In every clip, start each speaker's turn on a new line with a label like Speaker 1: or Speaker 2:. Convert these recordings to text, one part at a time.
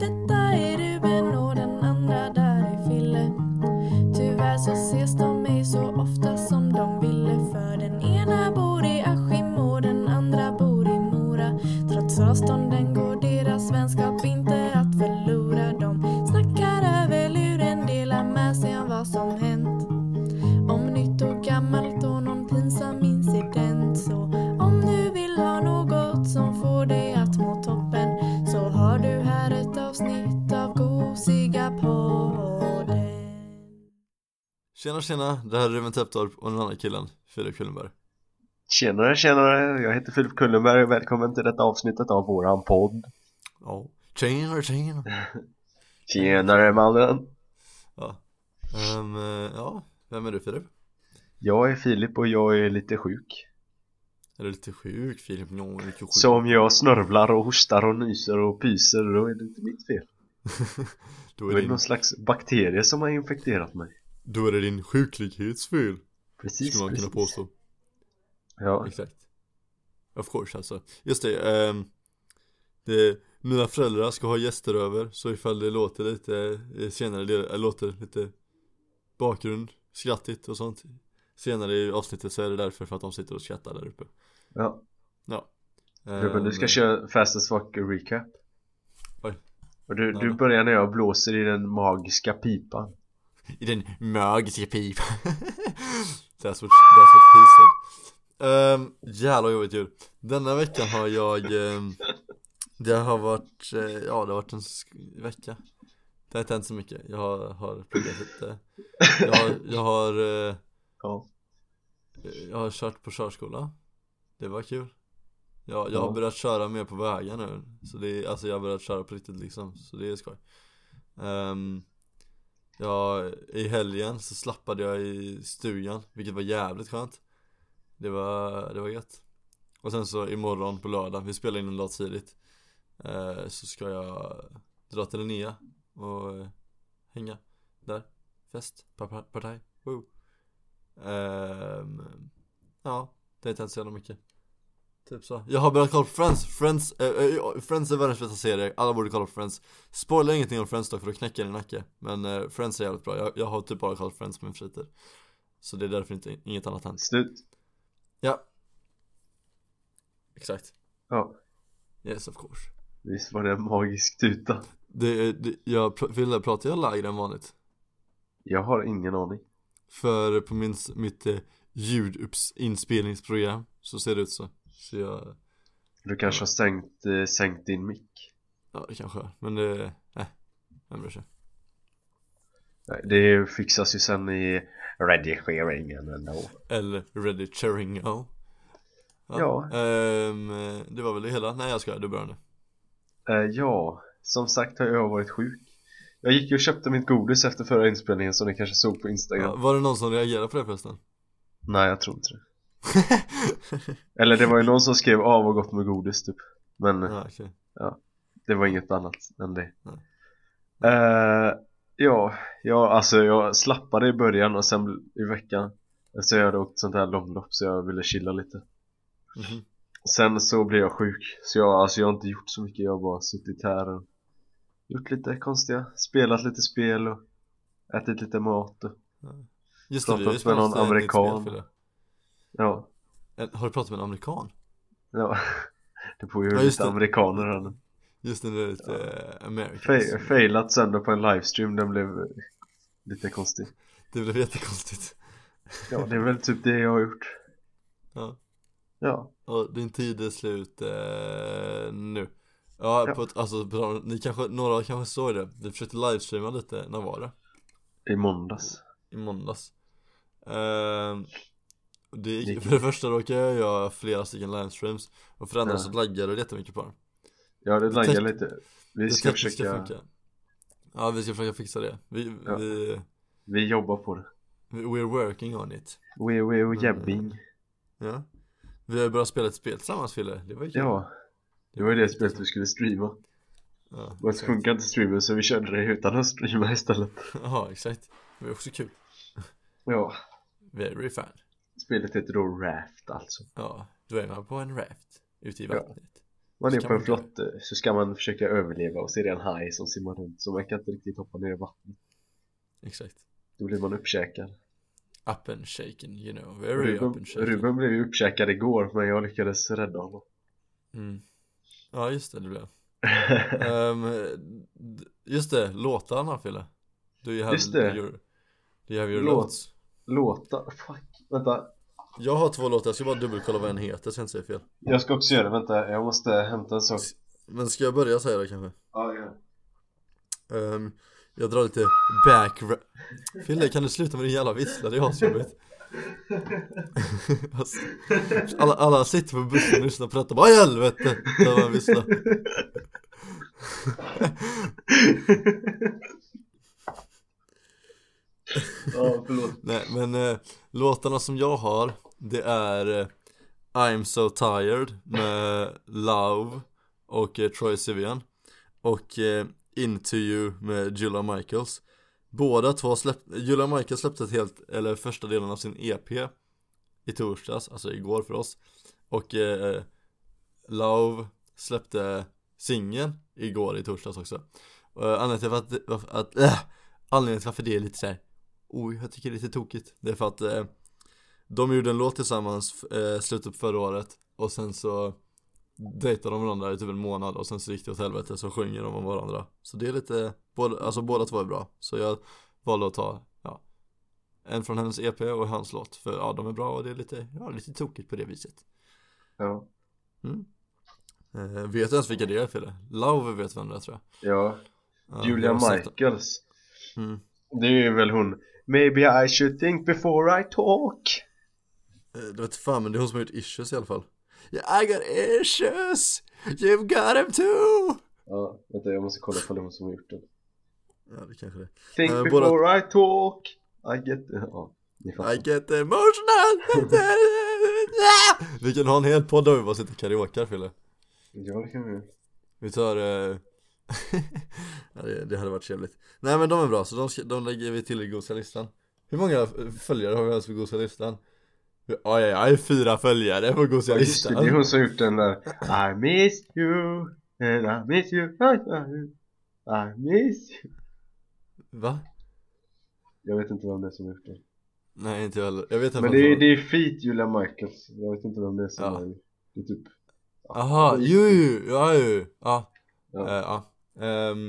Speaker 1: Detta är Ruben och den andra där är Fille. Tyvärr så ses de ej så ofta som de ville. För den ena bor i Askim och den andra bor i Mora. Trots avstånden går deras vänskap inte att förlora. De snackar över luren, delar med sig av vad som hänt. Om nytt och gammalt och någon pinsam incident. Så om du vill ha något som får dig att må toppen så har du här ett avsnitt av Gosiga podden.
Speaker 2: Tjena tjena, det här är Ruben Täpptorp och den andra killen, Filip Kullenberg
Speaker 3: Tjenare, tjenare! Jag heter Filip Kullenberg och välkommen till detta avsnittet av våran podd
Speaker 2: Ja, tjenare tjenare
Speaker 3: Tjenare mannen!
Speaker 2: ja. Ehm, eh, ja, vem är du Filip?
Speaker 3: Jag är Filip och jag är lite sjuk
Speaker 2: Är du lite sjuk Filip? Ja, jag är lite sjuk
Speaker 3: Så om jag snörvlar och hostar och nyser och pyser då är det inte mitt fel
Speaker 2: då,
Speaker 3: Då
Speaker 2: är
Speaker 3: är
Speaker 2: det
Speaker 3: det
Speaker 2: din,
Speaker 3: någon slags bakterie som har infekterat mig
Speaker 2: då är det din sjuklighetsfel,
Speaker 3: Precis,
Speaker 2: skulle man kunna
Speaker 3: precis
Speaker 2: påstå
Speaker 3: Ja,
Speaker 2: Exakt Of course alltså, just det, ehm, det Mina föräldrar ska ha gäster över, så ifall det låter lite eh, senare, det låter lite bakgrund, skrattigt och sånt Senare i avsnittet så är det därför för att de sitter och skrattar där uppe
Speaker 3: ja.
Speaker 2: Ja
Speaker 3: Ruben du
Speaker 2: Ehm,
Speaker 3: ska köra fastest fuck recap
Speaker 2: Oj.
Speaker 3: Och du,
Speaker 2: Nej,
Speaker 3: du
Speaker 2: men-
Speaker 3: börjar när jag blåser i den magiska pipan
Speaker 2: I den magiska pipan That's what, that's what he said um, Jävlar vad jobbigt ljud Denna veckan har jag ehm, Det har varit, eh, ja det har varit en sk- vecka Det har inte hänt så mycket, jag har, har pluggat lite Jag har, jag har, eh,
Speaker 3: Ja,
Speaker 2: jag har kört på körskola Det var kul jag, jag har
Speaker 3: Ja.
Speaker 2: börjat köra mer på vägar nu Så det är, alltså jag har börjat köra på riktigt liksom Så det är skoj Ehm, Ja, i helgen så slappade jag i stugan Vilket var jävligt skönt Det var, det var gött Och sen så imorgon på lördag, vi spelar in en dag tidigt eh, Så ska jag dra till Linnea och eh, hänga där Fest, par- partaj, woo Ehm, Ja, det är inte ens så jävla mycket Typ så. Jag har börjat kolla på Friends, Friends, eh, eh, Friends är världens bästa serie, alla borde kolla på Friends Spoila ingenting om Friends dock för då knäcker jag din nacke Men eh, Friends är jävligt bra, jag, jag har typ bara kollat Friends på min fritid Så det är därför inte, inget annat hänt
Speaker 3: slut
Speaker 2: Ja Exakt
Speaker 3: Ja,
Speaker 2: Yes of course
Speaker 3: visst var det en magisk tuta
Speaker 2: det, det, jag, pr- Ville, pratar jag lägre än vanligt?
Speaker 3: Jag har ingen aning
Speaker 2: För på min, s- mitt eh, ljudinspelningsprogram så ser det ut så Så jag,
Speaker 3: Du kanske har sänkt, eh, sänkt din mick?
Speaker 2: ja det kanske är, men det, nej, vem bryr sig?
Speaker 3: Nej, det fixas ju sen i redigeringen ändå
Speaker 2: Eller Ready Cheringo
Speaker 3: Ja.
Speaker 2: ehm, Det var väl det hela, nej jag ska du börjar nu
Speaker 3: eh, Ja, som sagt har jag varit sjuk Jag gick ju och köpte mitt godis efter förra inspelningen som ni kanske såg på Instagram
Speaker 2: ja, Var det någon som reagerade på det förresten?
Speaker 3: Nej, jag tror inte det Eller det var ju någon som skrev av och gott med godis typ Men
Speaker 2: ja, okej.
Speaker 3: det var inget annat än det
Speaker 2: Nej.
Speaker 3: eh, Ja, ja, alltså jag slappade i början och sen i veckan Eftersom jag hade åkt sånt här långlopp så jag ville chilla lite
Speaker 2: Mhm.
Speaker 3: Sen så blev jag sjuk, så jag, alltså jag har inte gjort så mycket, jag har bara suttit här och gjort lite konstiga, spelat lite spel och ätit lite mat och,
Speaker 2: Just det, vi har ju
Speaker 3: Pratat med
Speaker 2: spelat
Speaker 3: någon
Speaker 2: ett nytt
Speaker 3: amerikan.
Speaker 2: spel, Fille.
Speaker 3: ja,
Speaker 2: Eh, Har du pratat med en amerikan?
Speaker 3: ja Det bor ju
Speaker 2: Ja, just
Speaker 3: lite
Speaker 2: det.
Speaker 3: amerikaner här nu
Speaker 2: Just den där lite eh, Americans
Speaker 3: Fe- Failat sönder på en livestream, den blev eh, lite konstig
Speaker 2: Det blev jättekonstigt
Speaker 3: Ja, det är väl typ det jag har gjort
Speaker 2: Ja,
Speaker 3: Ja,
Speaker 2: och din tid är slut eh, nu Ja,
Speaker 3: Ja.
Speaker 2: På ett, alltså på tal om- ni kanske, några kanske såg det Vi försökte livestreama lite, när var det?
Speaker 3: i måndags
Speaker 2: I måndags Ehm, och det,
Speaker 3: Det gick-
Speaker 2: gick- För det första råkade jag göra flera stycken livestreams Och för det andra
Speaker 3: Ja.
Speaker 2: så laggade det jättemycket på den
Speaker 3: Ja, det
Speaker 2: Det
Speaker 3: laggar
Speaker 2: tek-
Speaker 3: lite Vi
Speaker 2: Det
Speaker 3: ska
Speaker 2: tekniska
Speaker 3: försöka,
Speaker 2: funkar. Ja, vi ska försöka fixa det Vi,
Speaker 3: Ja.
Speaker 2: vi,
Speaker 3: vi jobbar på det
Speaker 2: vi we're working on it
Speaker 3: We, we, we jabbing
Speaker 2: Ja Vi har ju börjat spela ett spel tillsammans Fille, det var ju kul
Speaker 3: Ja, det var ju det spelet vi skulle streama
Speaker 2: Ja,
Speaker 3: Men
Speaker 2: exakt.
Speaker 3: funkar inte streamen så vi körde det utan att streama istället
Speaker 2: Ja, exakt. Det var också kul.
Speaker 3: Ja,
Speaker 2: Very fan.
Speaker 3: spelet heter då Raft alltså
Speaker 2: Ja, då är man på en raft ute i
Speaker 3: Ja.
Speaker 2: vattnet.
Speaker 3: man
Speaker 2: Så
Speaker 3: är
Speaker 2: kan
Speaker 3: på en
Speaker 2: man inte-
Speaker 3: flotte så ska man försöka överleva och så är det en haj som simmar runt så man kan inte riktigt hoppa ner i vattnet.
Speaker 2: Exakt
Speaker 3: Då blir man uppkäkad.
Speaker 2: Up and shaken, you know, very up
Speaker 3: Ruben,
Speaker 2: and shaken
Speaker 3: Ruben blev ju uppkäkad igår men jag lyckades rädda honom.
Speaker 2: Mm. Ja just det, det blev Ehm, d- Just det, låtarna Fille Du have
Speaker 3: Just det.
Speaker 2: your, do you have your
Speaker 3: Låt.
Speaker 2: låts
Speaker 3: Låta, fuck, vänta.
Speaker 2: Jag har två låtar, jag ska bara dubbelkolla vad den heter så jag inte säger fel
Speaker 3: Jag ska också göra det, vänta jag måste hämta en sak.
Speaker 2: Men ska jag börja säga det kanske?
Speaker 3: Ja, ja.
Speaker 2: Ehm, jag drar lite back Fille kan du sluta med din jävla vissla, det är asjobbigt Alltså, alla, alla sitter på bussen och lyssnar på detta, bara "Aj, helvete! Hör man vissla
Speaker 3: ja förlåt.
Speaker 2: Nej men eh, låtarna som jag har Det är eh, I'm so tired med Love och eh, Troy Sivan Och eh, Into you med Julia Michaels Båda två släppte, Julia Michaels släppte ett helt, eller första delen av sin EP I torsdags, alltså igår för oss Och eh, Love släppte singeln igår i torsdags också och, eh, anledningen till varför- varför, att, äh, anledningen till varför det är lite så här Oj, jag tycker det är lite tokigt Det är för att eh, De gjorde en låt tillsammans eh, slutet på förra året Och sen så Dejtade de varandra i typ en månad och sen så gick det åt helvete så sjunger de om varandra Så det är lite båda, Alltså båda två är bra Så jag valde att ta ja, En från hennes EP och hans låt För ja, de är bra och det är lite Ja, lite tokigt på det viset
Speaker 3: Ja.
Speaker 2: eh, Vet du ens vilka det är Fille? Love vet vem det är tror
Speaker 3: ja.
Speaker 2: jag Ja,
Speaker 3: Julia
Speaker 2: jag har sett-
Speaker 3: Michaels.
Speaker 2: Mm.
Speaker 3: Det är väl hon. Maybe I should think before I talk.
Speaker 2: Eh, Det vet fan men det är hon som har gjort issues i alla fall yeah, I got issues! You've got them too!
Speaker 3: Ja, vänta jag måste kolla på hon som har gjort den.
Speaker 2: Ja det kanske det
Speaker 3: Think
Speaker 2: Nej, men båda-
Speaker 3: before I talk. I get... Ja, ni
Speaker 2: I
Speaker 3: fattar.
Speaker 2: get emotional! vi kan ha en hel podd där vi bara sitter och karaokear Fille
Speaker 3: Ja, det kan vi göra.
Speaker 2: Vi tar eh... ja, det, det hade varit trevligt Nej men de är bra så de, ska, de lägger vi till i gosiga listan Hur många eh, följare har vi ens på gosiga listan? Ja ja, ja, jag är fyra följare på gosiga
Speaker 3: Ja, just det,
Speaker 2: listan
Speaker 3: det är hon som har gjort den där I miss you and I miss you I I miss you
Speaker 2: Va?
Speaker 3: Jag vet inte vem det är som har gjort den
Speaker 2: Nej inte jag heller, jag vet inte
Speaker 3: Men det är, det är feat Julia Michaels Jag vet inte vem det är som
Speaker 2: Ja.
Speaker 3: är Det är typ
Speaker 2: Aha, ju, ju, ja ju, ja, ja,
Speaker 3: Ja.
Speaker 2: ja. Ehm,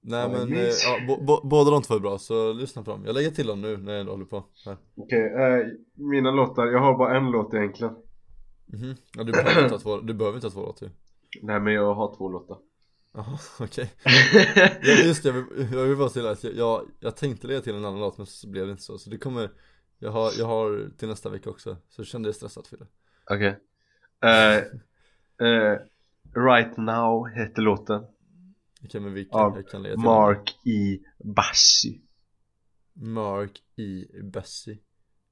Speaker 2: Nej
Speaker 3: Ja,
Speaker 2: men,
Speaker 3: men
Speaker 2: eh,
Speaker 3: mys.
Speaker 2: ja, bo, bo, båda de två är bra så lyssna på dem Jag lägger till dem nu när jag ändå håller på här
Speaker 3: Okej, eh, mina låtar Jag har bara en låt egentligen
Speaker 2: Mhm. ja, du, behöver inte ha två, du behöver inte ha två låtar ju
Speaker 3: Nej men jag har två låtar
Speaker 2: Jaha, okej ja, Just det, jag vill, jag vill bara säga att jag, jag, jag tänkte lägga till en annan låt men så blev det inte så Så det kommer, jag har, jag har till nästa vecka också Så kände jag stressat för det
Speaker 3: Okej Eh, eh, Right Now heter låten
Speaker 2: Okej men vilken
Speaker 3: Ja,
Speaker 2: jag kan lägga till
Speaker 3: Mark E. Bassi
Speaker 2: Mark E. Bessie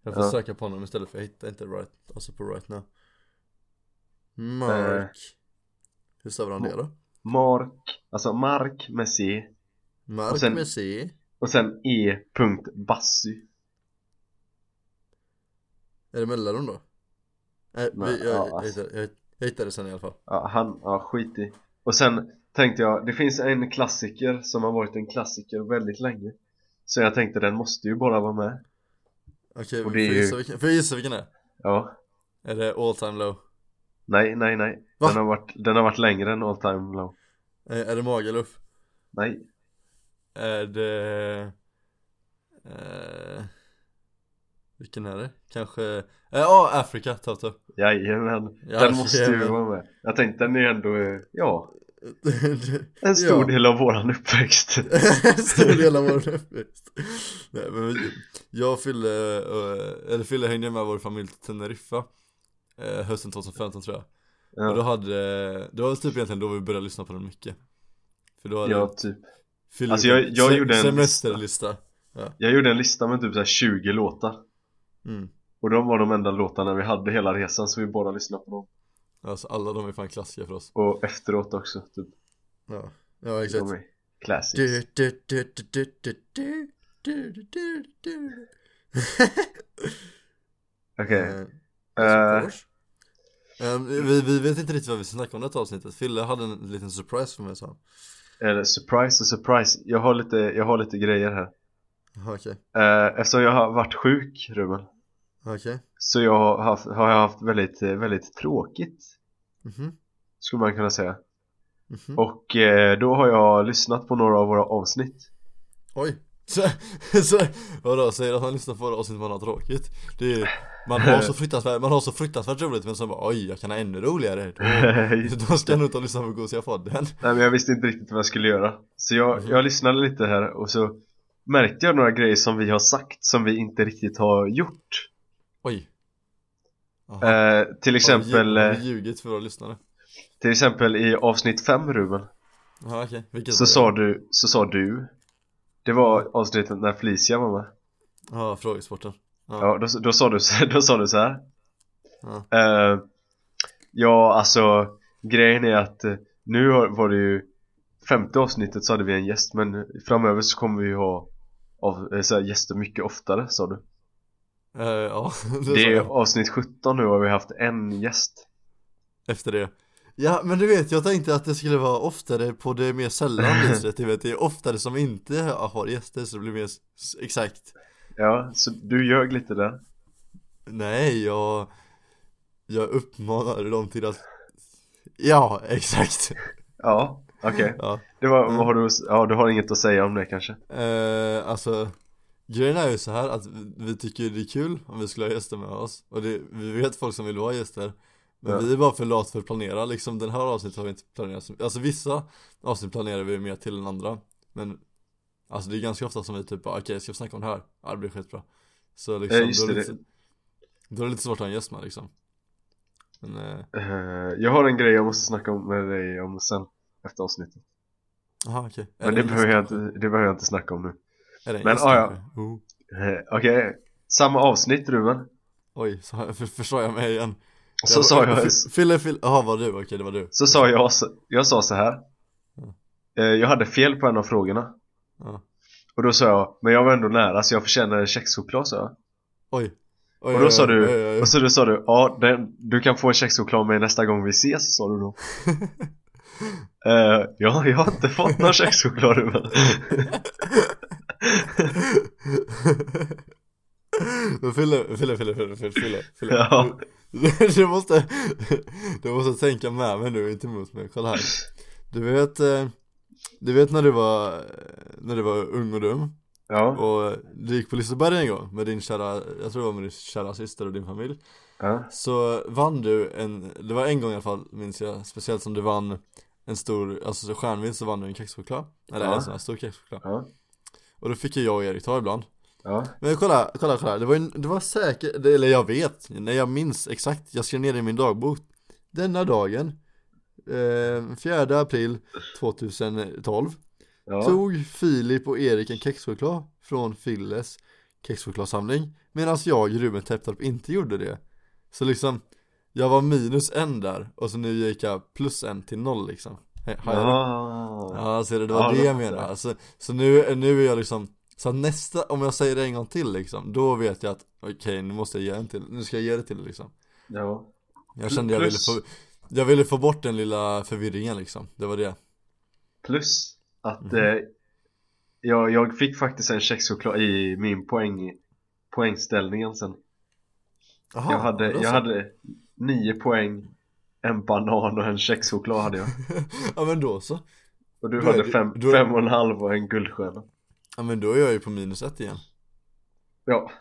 Speaker 2: Jag får
Speaker 3: Ja. Eh.
Speaker 2: söka på honom istället för jag hittar inte right, alltså på right now Mark Hur stavar han det då?
Speaker 3: Mark, alltså Mark med C
Speaker 2: Mark
Speaker 3: och sen-
Speaker 2: med C
Speaker 3: Och sen E, E.Bassy
Speaker 2: Är det mellanrum då? Nej,
Speaker 3: Nej,
Speaker 2: vi, jag,
Speaker 3: ja,
Speaker 2: jag,
Speaker 3: alltså.
Speaker 2: hittar, jag, jag hittar det sen i alla fall
Speaker 3: Ja, han, ja skit i Och sen tänkte jag, det finns en klassiker som har varit en klassiker väldigt länge Så jag tänkte den måste ju bara vara med
Speaker 2: Okej,
Speaker 3: Och
Speaker 2: får
Speaker 3: det är
Speaker 2: jag
Speaker 3: ju-
Speaker 2: gissa vilken, får jag gissa vilken det är?
Speaker 3: Ja,
Speaker 2: Är det all time low?
Speaker 3: nej, nej, nej
Speaker 2: Va?
Speaker 3: den har, varit, den har varit längre än all time low
Speaker 2: Eh, Är det Magaluf?
Speaker 3: Nej,
Speaker 2: Är det... Eh, vilken är det? Kanske... eh, Ja, eh, Africa, Toto
Speaker 3: jajamän Den
Speaker 2: Jajamän.
Speaker 3: måste ju vara med Jag tänkte den är ändå, eh, ja, en
Speaker 2: Ja.
Speaker 3: stor del av våran uppväxt
Speaker 2: Stor del av vår uppväxt Nej men vi- jag fyllde, eh, eller fyllde hängde med vår familj till Teneriffa eh, Hösten 2015 tror jag Och då
Speaker 3: Ja,
Speaker 2: hade, det var väl typ egentligen då vi började lyssna på den mycket För då hade
Speaker 3: ja typ
Speaker 2: Phil
Speaker 3: Alltså,
Speaker 2: gjort
Speaker 3: jag- jag
Speaker 2: se-
Speaker 3: gjorde en
Speaker 2: semesterlista
Speaker 3: Jag gjorde en lista med typ så här 20 låtar
Speaker 2: mm.
Speaker 3: Och de var de enda låtarna vi hade hela resan så vi bara lyssnade på dem
Speaker 2: Alltså alla de är fan klassiska för oss
Speaker 3: Och efteråt också, typ
Speaker 2: Ja, ja exakt
Speaker 3: De är classics
Speaker 2: Du, du, du, du, du, du, du, du, du, du, du.
Speaker 3: Okej,
Speaker 2: Eh,
Speaker 3: eh,
Speaker 2: Porsche. Ehm, vi, vi vet inte riktigt vad vi ska snacka om det här avsnittet. Fille hade en liten surprise för mig sa han.
Speaker 3: Eller surprise och surprise, jag har lite, jag har lite grejer här
Speaker 2: Jaha, Okej,
Speaker 3: eh, Eftersom jag har varit sjuk Ruben
Speaker 2: okej.
Speaker 3: Så jag har, haft, har jag haft väldigt, eh, väldigt tråkigt
Speaker 2: Mhm,
Speaker 3: Skulle man kunna säga
Speaker 2: mhm.
Speaker 3: Och eh, då har jag lyssnat på några av våra avsnitt
Speaker 2: Oj! Så, så, vadå, säger du att man lyssnar på våra avsnitt man har tråkigt? Det är, man, har så fruktansvärt, man har så fruktansvärt roligt men sen bara oj, jag kan ha ännu roligare Då, då ska jag nog inte lyssna på Gosiga-podden
Speaker 3: Nej men jag visste inte riktigt vad jag skulle göra Så jag,
Speaker 2: Mhm.
Speaker 3: jag lyssnade lite här och så märkte jag några grejer som vi har sagt som vi inte riktigt har gjort
Speaker 2: Oj! Aha.
Speaker 3: eh, Till exempel,
Speaker 2: Har
Speaker 3: eh,
Speaker 2: vi ljug- har vi ljugit för våra lyssnare?
Speaker 3: till exempel i avsnitt 5 Ruben
Speaker 2: Ja okej, vilket
Speaker 3: Så sa du, så sa du Det var avsnittet när Felicia var med
Speaker 2: Ja, frågesporten
Speaker 3: Ja, då, då, sa, du, så- då sa du så här.
Speaker 2: Ja.
Speaker 3: Eh, ja, alltså grejen är att eh, nu har- var det ju femte avsnittet så hade vi en gäst men framöver så kommer vi ju ha av, eh, så här, gäster mycket oftare sa du.
Speaker 2: Eh, Ja, det,
Speaker 3: Det
Speaker 2: sa
Speaker 3: är
Speaker 2: jag.
Speaker 3: avsnitt 17 nu har vi haft en gäst.
Speaker 2: Efter det Ja men du vet, jag tänkte att det skulle vara oftare på det mer sällan viset Du vet, det är oftare som inte har gäster så det blir mer s- s- exakt
Speaker 3: Ja, så du ljög lite där.
Speaker 2: Nej, jag, jag uppmanar dem till att Ja, exakt!
Speaker 3: Ja, okej.
Speaker 2: Ja.
Speaker 3: Det var,
Speaker 2: Mm.
Speaker 3: vad har du, att s- ja du har inget att säga om det kanske?
Speaker 2: Eh, alltså, grejen är ju så här att vi- vi tycker det är kul om vi skulle ha gäster med oss Och det, vi vet folk som vill ha gäster Men
Speaker 3: Ja.
Speaker 2: vi är bara för lat för att planera liksom Den här avsnittet har vi inte planerat så- Alltså vissa avsnitt planerar vi mer till än andra Men Alltså det är ganska ofta som vi typ bara, okej ska vi snacka om det här? Ja det blir skitbra Så liksom,
Speaker 3: Eh, just
Speaker 2: då, är det
Speaker 3: det,
Speaker 2: lite, då är det lite svårt att ha en gäst med liksom Men, eh,
Speaker 3: Eh, jag har en grej jag måste snacka om med dig om sen. Efter avsnittet.
Speaker 2: aha, okej
Speaker 3: Men det behöver, jag inte, det behöver jag inte snacka om nu.
Speaker 2: Är det en
Speaker 3: Men,
Speaker 2: gäst
Speaker 3: ah, ja.
Speaker 2: kanske? Oh.
Speaker 3: Eh, Okej, samma avsnitt Ruben.
Speaker 2: Oj, så, har- för, försade jag mig igen
Speaker 3: Så sa jag,
Speaker 2: F- Fille, Fille, jaha var det du? Okej det var du
Speaker 3: så sa jag, så- jag sa så här.
Speaker 2: Mm.
Speaker 3: Eh, Jag hade fel på en av frågorna. Mm.
Speaker 2: Ja.
Speaker 3: Och då sa jag, men jag var ändå nära så jag förtjänar en kexchoklad sa jag.
Speaker 2: Oj Oj,
Speaker 3: Och då
Speaker 2: oj,
Speaker 3: sa
Speaker 2: oj,
Speaker 3: du-
Speaker 2: oj, oj, oj.
Speaker 3: Och så då sa du, ja den, du kan få en kexchoklad med nästa gång vi ses sa du då. Eh, ja, jag har inte fått någon kexchoklad Ruben.
Speaker 2: Men Fille, Fille, Fille, Fille, Fille, Fille, Fille.
Speaker 3: Ja.
Speaker 2: Du, du måste Du måste tänka med mig nu, inte mot mig, kolla här Du vet eh, Du vet när du var När du var ung och dum
Speaker 3: Ja,
Speaker 2: Och du gick på Liseberg en gång med din kära Jag tror det var med din kära syster och din familj
Speaker 3: ja,
Speaker 2: Så vann du en, det var en gång i alla fall minns jag, speciellt som du vann en stor, alltså så stjärnvinst så vann du en kexchoklad Eller
Speaker 3: Ja.
Speaker 2: en sån här stor kexchoklad
Speaker 3: ja,
Speaker 2: Och då fick ju jag och Erik ta ibland
Speaker 3: ja.
Speaker 2: Men kolla, kolla, kolla, det var, ju- det var säkert, eller jag vet, nej jag minns exakt, jag skrev ner det i min dagbok Denna dagen, eh, 4 april 2012
Speaker 3: ja.
Speaker 2: Tog Filip och Erik en kexchoklad från Filles kexchokladsamling Medan jag, Ruben Teptorp, inte gjorde det Så liksom, jag var minus en där och så nu gick jag plus en till noll liksom Hej, hej.
Speaker 3: Ja.
Speaker 2: Ja, ser du, det var
Speaker 3: Ja,
Speaker 2: det
Speaker 3: då
Speaker 2: jag
Speaker 3: fattar
Speaker 2: menade
Speaker 3: jag.
Speaker 2: alltså, Så nu, nu är jag liksom Så att nästa, om jag säger det en gång till liksom Då vet jag att, okej nu måste jag ge en till, nu ska jag ge det till dig, liksom
Speaker 3: ja.
Speaker 2: Jag kände jag ville
Speaker 3: Plus-
Speaker 2: få Jag ville få bort den lilla förvirringen liksom, det var det
Speaker 3: Plus att
Speaker 2: Mhm.
Speaker 3: eh, jag, jag fick faktiskt en kexchoklad i min poäng, poängställningen sen.
Speaker 2: Aha,
Speaker 3: jag hade,
Speaker 2: då så.
Speaker 3: jag hade nio poäng, en banan och en kexchoklad hade jag.
Speaker 2: Ja men då så
Speaker 3: Och du
Speaker 2: Då är
Speaker 3: hade
Speaker 2: du-
Speaker 3: fem,
Speaker 2: då är-
Speaker 3: fem och en halv och en guldstjärna.
Speaker 2: Ja men då är jag ju på minus ett igen
Speaker 3: Ja,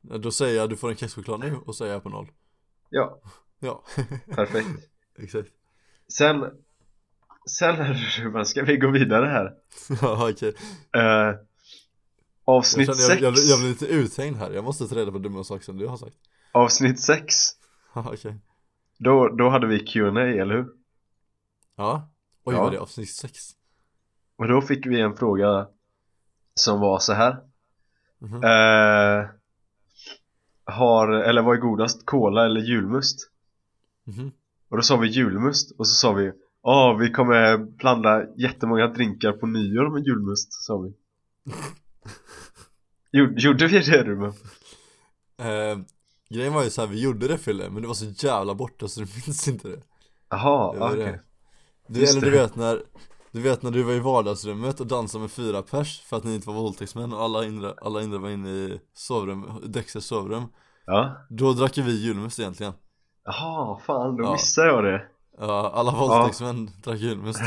Speaker 2: Ja, Då säger jag du får en kexchoklad nu och så är jag på noll
Speaker 3: ja,
Speaker 2: Ja,
Speaker 3: perfekt.
Speaker 2: exakt
Speaker 3: Sen, sen Ruben, ska vi gå vidare här?
Speaker 2: Ja okej
Speaker 3: Eh, avsnitt
Speaker 2: jag, känner- jag,
Speaker 3: sex
Speaker 2: jag, blir- jag blir lite uthängd här, jag måste ta reda på dumma saker som du har sagt
Speaker 3: avsnitt sex
Speaker 2: Ja okej
Speaker 3: då, då hade vi Q&A eller hur?
Speaker 2: Ja, oj
Speaker 3: Ja.
Speaker 2: vad det är avsnitt sex
Speaker 3: Och då fick vi en fråga som var så här.
Speaker 2: Mhm.
Speaker 3: Eh, har, eller vad är godast, cola eller julmust?
Speaker 2: Mhm.
Speaker 3: Och då sa vi julmust och så sa vi Ja, vi kommer blanda jättemånga drinkar på nyår med julmust, sa vi Gjorde, gjorde vi det Ruben?
Speaker 2: Eh, Grejen var ju så här, vi gjorde det Fille, men det var så jävla borta så du minns inte det
Speaker 3: Jaha,
Speaker 2: Det var
Speaker 3: okej.
Speaker 2: det. Du,
Speaker 3: Just
Speaker 2: eller du
Speaker 3: det.
Speaker 2: vet när Du vet när du var i vardagsrummet och dansade med fyra pers för att ni inte var våldtäktsmän och alla andra, alla andra var inne i sovrum, Dexters sovrum
Speaker 3: Ja.
Speaker 2: Då drack ju vi julmust egentligen
Speaker 3: Jaha, fan då
Speaker 2: Ja.
Speaker 3: missade jag det.
Speaker 2: Ja, alla våldtäktsmän drack julmust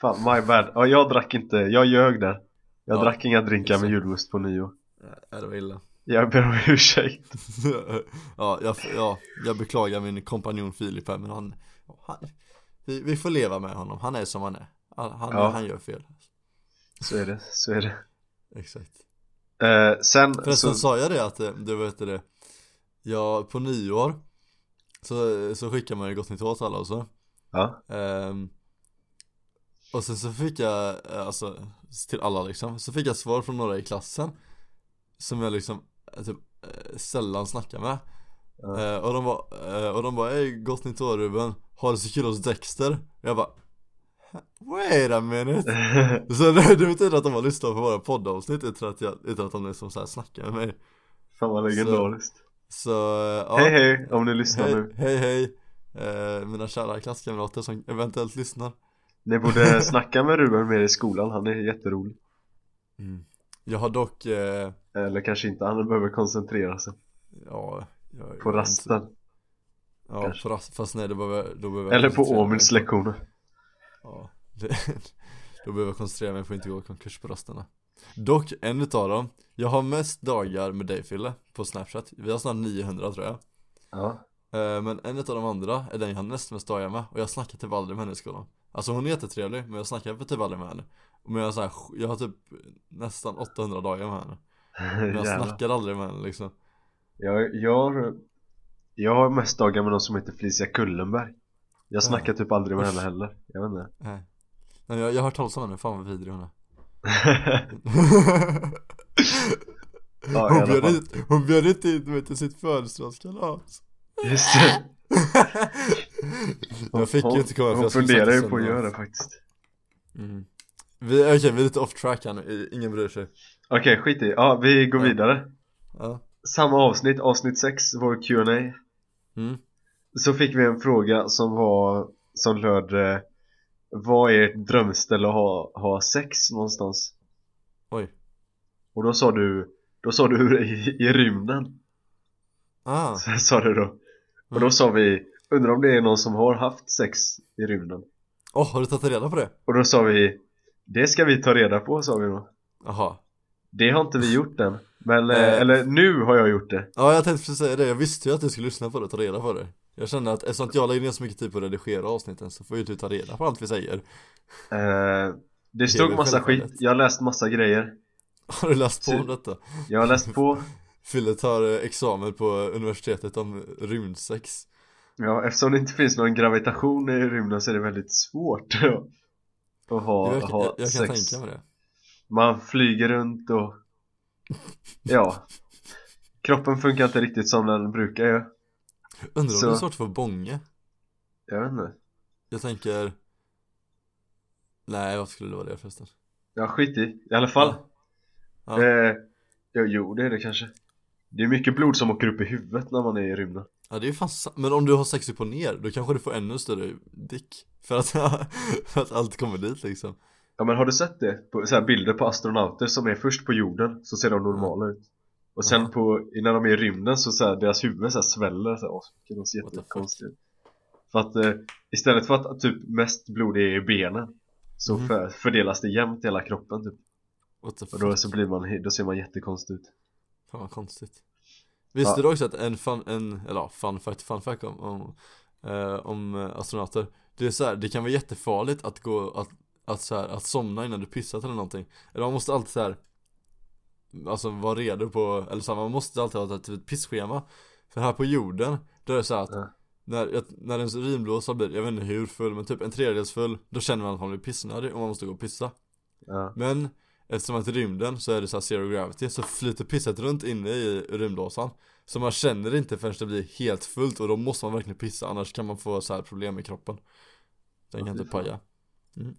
Speaker 3: Fan, my bad. Ja, jag drack inte, jag ljög där. Jag
Speaker 2: Ja,
Speaker 3: drack inga drinkar med
Speaker 2: exakt.
Speaker 3: julmust på nyår.
Speaker 2: Ja, det var illa
Speaker 3: Jag ber om ursäkt.
Speaker 2: ja, jag, ja, jag beklagar min kompanjon Filip här men han, han vi, vi får leva med honom, han är som han är Han, han,
Speaker 3: Ja.
Speaker 2: han gör fel
Speaker 3: Så är det, så är det.
Speaker 2: Exakt
Speaker 3: Eh, sen
Speaker 2: Förresten
Speaker 3: så,
Speaker 2: sa jag det att, eh, du vet det Ja, på nyår Så, så skickar man ju gott nytt år till alla och så
Speaker 3: ja,
Speaker 2: Ehm, Och sen så fick jag, eh, alltså till alla liksom Så fick jag svar från några i klassen Som jag liksom eh, typ eh, sällan snackar med
Speaker 3: Ja.
Speaker 2: Eh, Och de bara, eh, och de bara Ey gott nytt år Ruben Har det så kul hos Dexter Och jag bara Wait a minute Så det det betyder att de har lyssnat på våra poddavsnitt utan att, jag, utan att de liksom så här snackar med mig
Speaker 3: fan vad legendariskt.
Speaker 2: Så eh, ja
Speaker 3: Hej hej, om ni lyssnar
Speaker 2: hej
Speaker 3: nu.
Speaker 2: hej, hej. Eh, Mina kära klasskamrater som eventuellt lyssnar
Speaker 3: Ni borde snacka med Ruben mer i skolan, han är jätterolig.
Speaker 2: Mm. Jag har dock, eh,
Speaker 3: Eller kanske inte, han behöver koncentrera sig.
Speaker 2: ja jag,
Speaker 3: På rasten.
Speaker 2: Ja,
Speaker 3: kanske.
Speaker 2: på rast, fast nej då behöver, jag- då behöver jag
Speaker 3: Eller på
Speaker 2: koncentrera mig
Speaker 3: Åmils lektioner.
Speaker 2: Ja, det, då behöver jag koncentrera mig på att inte gå i konkurs på rasterna Dock, en utav dem Jag har mest dagar med dig Fille, på snapchat Vi har snart 900 tror jag
Speaker 3: Ja.
Speaker 2: Eh, Men en utav de andra är den jag har näst mest dagar med och jag snackar typ aldrig med henne i skolan Alltså hon är jättetrevlig men jag snackar typ aldrig med henne Men jag, har så här, jag har typ nästan 800 dagar med henne Men jag
Speaker 3: Jävlar.
Speaker 2: snackar aldrig med henne liksom
Speaker 3: Jag, jag, har- jag har mest dagar med någon som heter Felicia Kullenberg Jag snackar typ aldrig med henne heller, jag vet inte
Speaker 2: Nej, Nej jag, jag har hört talas om henne, fan vad vidrig hon är
Speaker 3: Ja, i
Speaker 2: hon,
Speaker 3: alla
Speaker 2: bjöd
Speaker 3: fall.
Speaker 2: hit, hon bjöd inte in mig till sitt födelsedagskalas
Speaker 3: Just det,
Speaker 2: Jag fick ju inte komma för
Speaker 3: Hon
Speaker 2: jag skulle sagt
Speaker 3: funderar ju
Speaker 2: det
Speaker 3: på att
Speaker 2: sen, men-
Speaker 3: göra det faktiskt
Speaker 2: mm. Vi, okej vi är lite off track här nu, ingen bryr sig
Speaker 3: Okej, skit i, ja vi går
Speaker 2: Ja.
Speaker 3: vidare
Speaker 2: Ja,
Speaker 3: Samma avsnitt, avsnitt 6, vår Q&A
Speaker 2: mm.
Speaker 3: Så fick vi en fråga som var, som löd eh, Vad är ert drömställe att ha, ha sex någonstans?
Speaker 2: oj
Speaker 3: Och då sa du, då sa du i, i rymden
Speaker 2: ah.
Speaker 3: Så sa du då Och
Speaker 2: Mm.
Speaker 3: då sa vi Undrar om det är någon som har haft sex i rymden?
Speaker 2: Åh, har du tagit reda på det?
Speaker 3: Och då sa vi Det ska vi ta reda på sa vi då
Speaker 2: Jaha
Speaker 3: Det har inte vi gjort än Men, eh,
Speaker 2: Eh.
Speaker 3: eller nu har jag gjort det
Speaker 2: Ja jag tänkte precis säga det, jag visste ju att du skulle lyssna på det och ta reda på det Jag kände att eftersom att jag lägger ner så mycket tid på att redigera avsnitten så får ju du ta reda på allt vi säger
Speaker 3: eh, Det
Speaker 2: är
Speaker 3: stod
Speaker 2: väl
Speaker 3: massa skit,
Speaker 2: självfallet.
Speaker 3: jag har läst massa grejer
Speaker 2: Har du läst på om
Speaker 3: Ty-
Speaker 2: detta?
Speaker 3: Jag har läst på
Speaker 2: Fille tar eh, examen på universitetet om rymdsex
Speaker 3: Ja, eftersom det inte finns någon gravitation i rymden så är det väldigt svårt att ha,
Speaker 2: Det verkar-
Speaker 3: ha
Speaker 2: jag, jag kan
Speaker 3: sex
Speaker 2: tänka mig det
Speaker 3: Man flyger runt och Ja Kroppen funkar inte riktigt som den brukar ju
Speaker 2: Undrar
Speaker 3: Så-
Speaker 2: om det är svårt för Bånge?
Speaker 3: Jag vet inte
Speaker 2: Jag tänker Nej, varför skulle det vara det förresten?
Speaker 3: Ja, skit i, i alla fall
Speaker 2: Ja.
Speaker 3: Eh, ja, jo, det är det kanske Det är mycket blod som åker upp i huvudet när man är i rymden
Speaker 2: Ja det är ju fan sa- Men om du har sex upp och ner, då kanske du får ännu större dick För att, för att allt kommer dit liksom
Speaker 3: Ja men har du sett det? På, så här bilder på astronauter som är först på jorden så ser de normala ut Och sen
Speaker 2: Aha.
Speaker 3: på, när de är i rymden så, så här, deras huvud så här sväller så här, asmycket, de ser
Speaker 2: What the fuck?
Speaker 3: jättekonstigt ut För att eh, istället för att typ mest blod är i benen så
Speaker 2: Mhm.
Speaker 3: för, fördelas det jämnt i hela kroppen typ
Speaker 2: What the
Speaker 3: Och
Speaker 2: fuck?
Speaker 3: då, så blir man, då ser man jättekonstig ut
Speaker 2: Fan vad konstigt Visste
Speaker 3: Ja.
Speaker 2: du också att en fun, en, eller ja, fun fact, fun fact om, om, eh, om eh, astronauter Det är så här, det kan vara jättefarligt att gå, att, att så här, att somna innan du pissat eller någonting Eller man måste alltid så här Alltså vara redo på, eller så här, man måste alltid ha ett typ pisschema För här på jorden, då är det så här att
Speaker 3: Ja.
Speaker 2: när, jag- när ens urinblåsa blir, jag vet inte hur full, men typ en tredjedels full Då känner man att man blir pissnödig och man måste gå och pissa
Speaker 3: ja.
Speaker 2: men eftersom att i rymden så är det så här zero gravity så flyter pisset runt inne i rymdblåsan Så man känner det inte förrän det blir helt fullt och då måste man verkligen pissa annars kan man få så här problem med kroppen Den kan
Speaker 3: Ja, fy
Speaker 2: inte paja mm.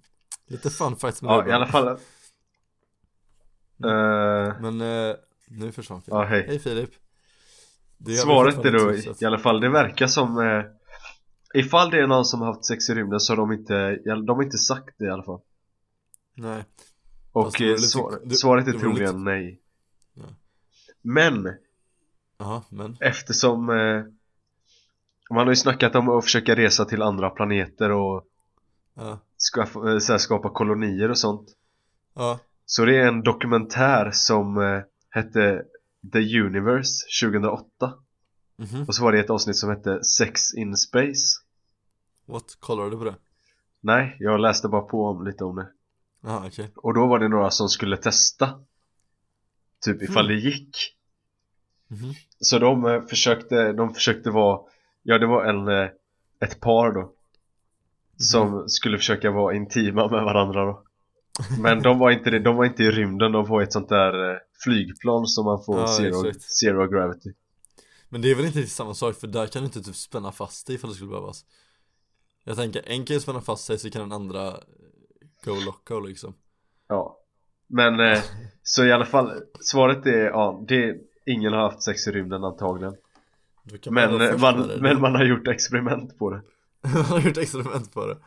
Speaker 2: Lite fun facts med
Speaker 3: ja,
Speaker 2: Ruben.
Speaker 3: i alla fall Eh,
Speaker 2: Mm. Men eh, nu försvann Filip
Speaker 3: Ja, hej
Speaker 2: Hej Filip Det har vi
Speaker 3: Svaret är
Speaker 2: fortfarande
Speaker 3: då
Speaker 2: inte sett.
Speaker 3: i alla fall, det verkar som eh, Ifall det är någon som har haft sex i rymden så har de inte, de har inte sagt det i alla fall
Speaker 2: Nej, Fast
Speaker 3: Och
Speaker 2: det vore
Speaker 3: eh,
Speaker 2: lite-
Speaker 3: svar,
Speaker 2: det-
Speaker 3: svaret är
Speaker 2: det vore lite-
Speaker 3: troligen nej
Speaker 2: Ja.
Speaker 3: Men
Speaker 2: jaha men
Speaker 3: eftersom eh, Man har ju snackat om att försöka resa till andra planeter och
Speaker 2: Ja,
Speaker 3: skaffa, eh, så här, skapa kolonier och sånt
Speaker 2: ja,
Speaker 3: Så det är en dokumentär som eh, hette The Universe 2008
Speaker 2: mhm,
Speaker 3: Och så var det ett avsnitt som hette Sex in Space
Speaker 2: what? Kollar du på det?
Speaker 3: Nej, jag läste bara på om lite om det
Speaker 2: Jaha okej,
Speaker 3: Och då var det några som skulle testa Typ ifall det gick
Speaker 2: Mm. mhm,
Speaker 3: Så de eh, försökte, de försökte vara Ja det var en, eh, ett par
Speaker 2: Mhm.
Speaker 3: då Som skulle försöka vara intima med varandra då Men de var inte det, de var inte i rymden, de var i ett sånt där eh, flygplan som man får
Speaker 2: Ja,
Speaker 3: zero,
Speaker 2: exakt.
Speaker 3: zero gravity
Speaker 2: Men det är väl inte riktigt samma sak för där kan du inte typ spänna fast dig ifall det skulle behövas Jag tänker, en kan ju spänna fast sig så kan den andra eh, go loco liksom
Speaker 3: Ja Men eh, så i alla fall, svaret är ja, det, ingen har haft sex i rymden antagligen
Speaker 2: Då kan
Speaker 3: Men,
Speaker 2: vara
Speaker 3: eh,
Speaker 2: först
Speaker 3: man,
Speaker 2: med det.
Speaker 3: men man har gjort experiment på det
Speaker 2: Man har gjort experiment på det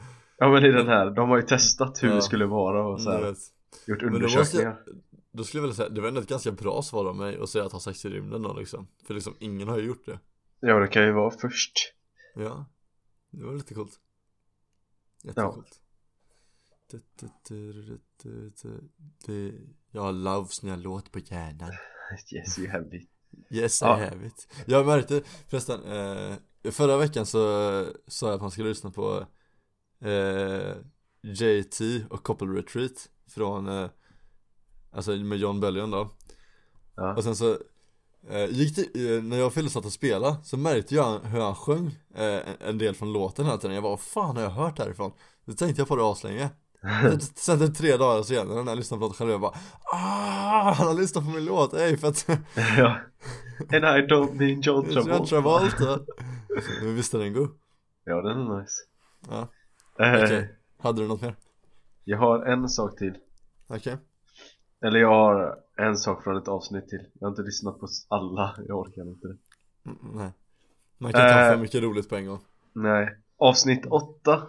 Speaker 3: Ja men i den här, de har ju testat hur
Speaker 2: Ja.
Speaker 3: det skulle vara och så
Speaker 2: Mm,
Speaker 3: här,
Speaker 2: jag vet.
Speaker 3: gjort
Speaker 2: Men då, måste
Speaker 3: undersökningar
Speaker 2: jag, då skulle jag vilja säga, det var ändå ett ganska bra svar av mig att säga att ha sex i rymden då liksom För liksom ingen har ju gjort det
Speaker 3: Ja det kan ju vara först
Speaker 2: Ja, det var lite coolt Jättecoolt Du, du, du, du, du, du, du. Jag har Loves nya låt på hjärnan
Speaker 3: Yes you have it
Speaker 2: Yes I
Speaker 3: Ja.
Speaker 2: have it Jag märkte förresten, eh, förra veckan så sa jag att man skulle lyssna på eh, JT och Couple Retreat från, eh, alltså med John Bellion då
Speaker 3: Ja.
Speaker 2: Och sen så eh, gick det, eh, när jag och Fille satt och spelade så märkte jag hur han sjöng eh, en, en del från låten hela tiden Jag bara, vad fan har jag hört härifrån? Då tänkte jag på det aslänge Sen typ tre dagar så igen när jag lyssnade på låten själv jag bara Ah, han har lyssnat på min låt, ey för att
Speaker 3: Ja And I don't mean John
Speaker 2: John Travolta.
Speaker 3: Travolta
Speaker 2: Men visst är den god?
Speaker 3: Ja den är nice
Speaker 2: Ja.
Speaker 3: Eh,
Speaker 2: Okej. Hade du något mer?
Speaker 3: Jag har en sak till
Speaker 2: Okej.
Speaker 3: Eller jag har en sak från ett avsnitt till Jag har inte lyssnat på alla, jag orkar inte det
Speaker 2: Mm, nej. Man kan ta
Speaker 3: Eh.
Speaker 2: för mycket roligt på en gång.
Speaker 3: Nej Avsnitt 8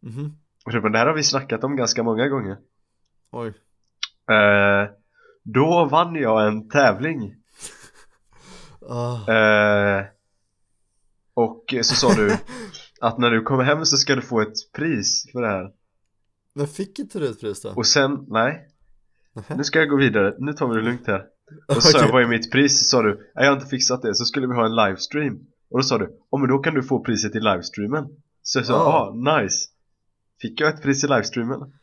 Speaker 2: Mhm.
Speaker 3: Ruben, det här har vi snackat om ganska många gånger
Speaker 2: Oj.
Speaker 3: Eh, Då vann jag en tävling
Speaker 2: Ah.
Speaker 3: Eh, och så sa du att när du kommer hem så ska du få ett pris för det här
Speaker 2: Men fick inte du ett pris då?
Speaker 3: Och sen, nej Nu ska jag gå vidare, nu tar vi det lugnt här Och så sa
Speaker 2: Okej.
Speaker 3: jag, vad är mitt pris? Så sa du, nej jag har inte fixat det, så skulle vi ha en livestream Och då sa du, ja men då kan du få priset i livestreamen Så jag sa,
Speaker 2: Ah.
Speaker 3: ja, nice Fick jag ett pris i livestreamen?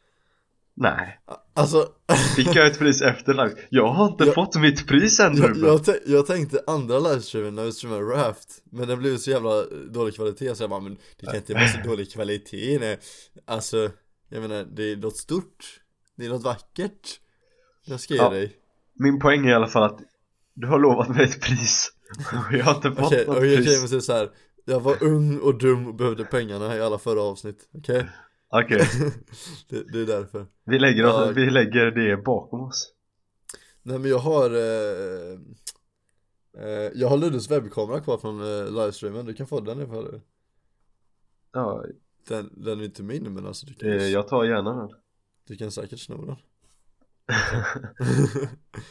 Speaker 3: Nej,
Speaker 2: Alltså,
Speaker 3: fick jag ett pris efter livestreamen? Jag har inte
Speaker 2: Jag-
Speaker 3: fått mitt pris än
Speaker 2: jag,
Speaker 3: Ruben
Speaker 2: jag, tän- jag tänkte andra livestreamen när vi streamade Raft Men den blev så jävla eh, dålig kvalitet så jag bara, men det kan inte vara så dålig kvalitet nej. Alltså, jag menar, det är något stort Det är något vackert Jag ska ge
Speaker 3: Ja.
Speaker 2: dig
Speaker 3: Min poäng är i alla fall att du har lovat mig ett pris och jag har inte fått
Speaker 2: Okej,
Speaker 3: något
Speaker 2: okej, okej,
Speaker 3: pris
Speaker 2: men typ så är det så här. Jag var ung och dum och behövde pengarna i alla förra avsnitt, okej?
Speaker 3: Okej,
Speaker 2: det, det är därför
Speaker 3: vi, lägger oss,
Speaker 2: Ja.
Speaker 3: vi lägger det bakom oss
Speaker 2: Nej men jag har eh, eh, Jag har Luddes webbkamera kvar från eh, livestreamen, du kan få den ifall du
Speaker 3: Ja,
Speaker 2: den, den är inte min men alltså du
Speaker 3: eh,
Speaker 2: kan,
Speaker 3: jag tar gärna den
Speaker 2: du kan säkert sno den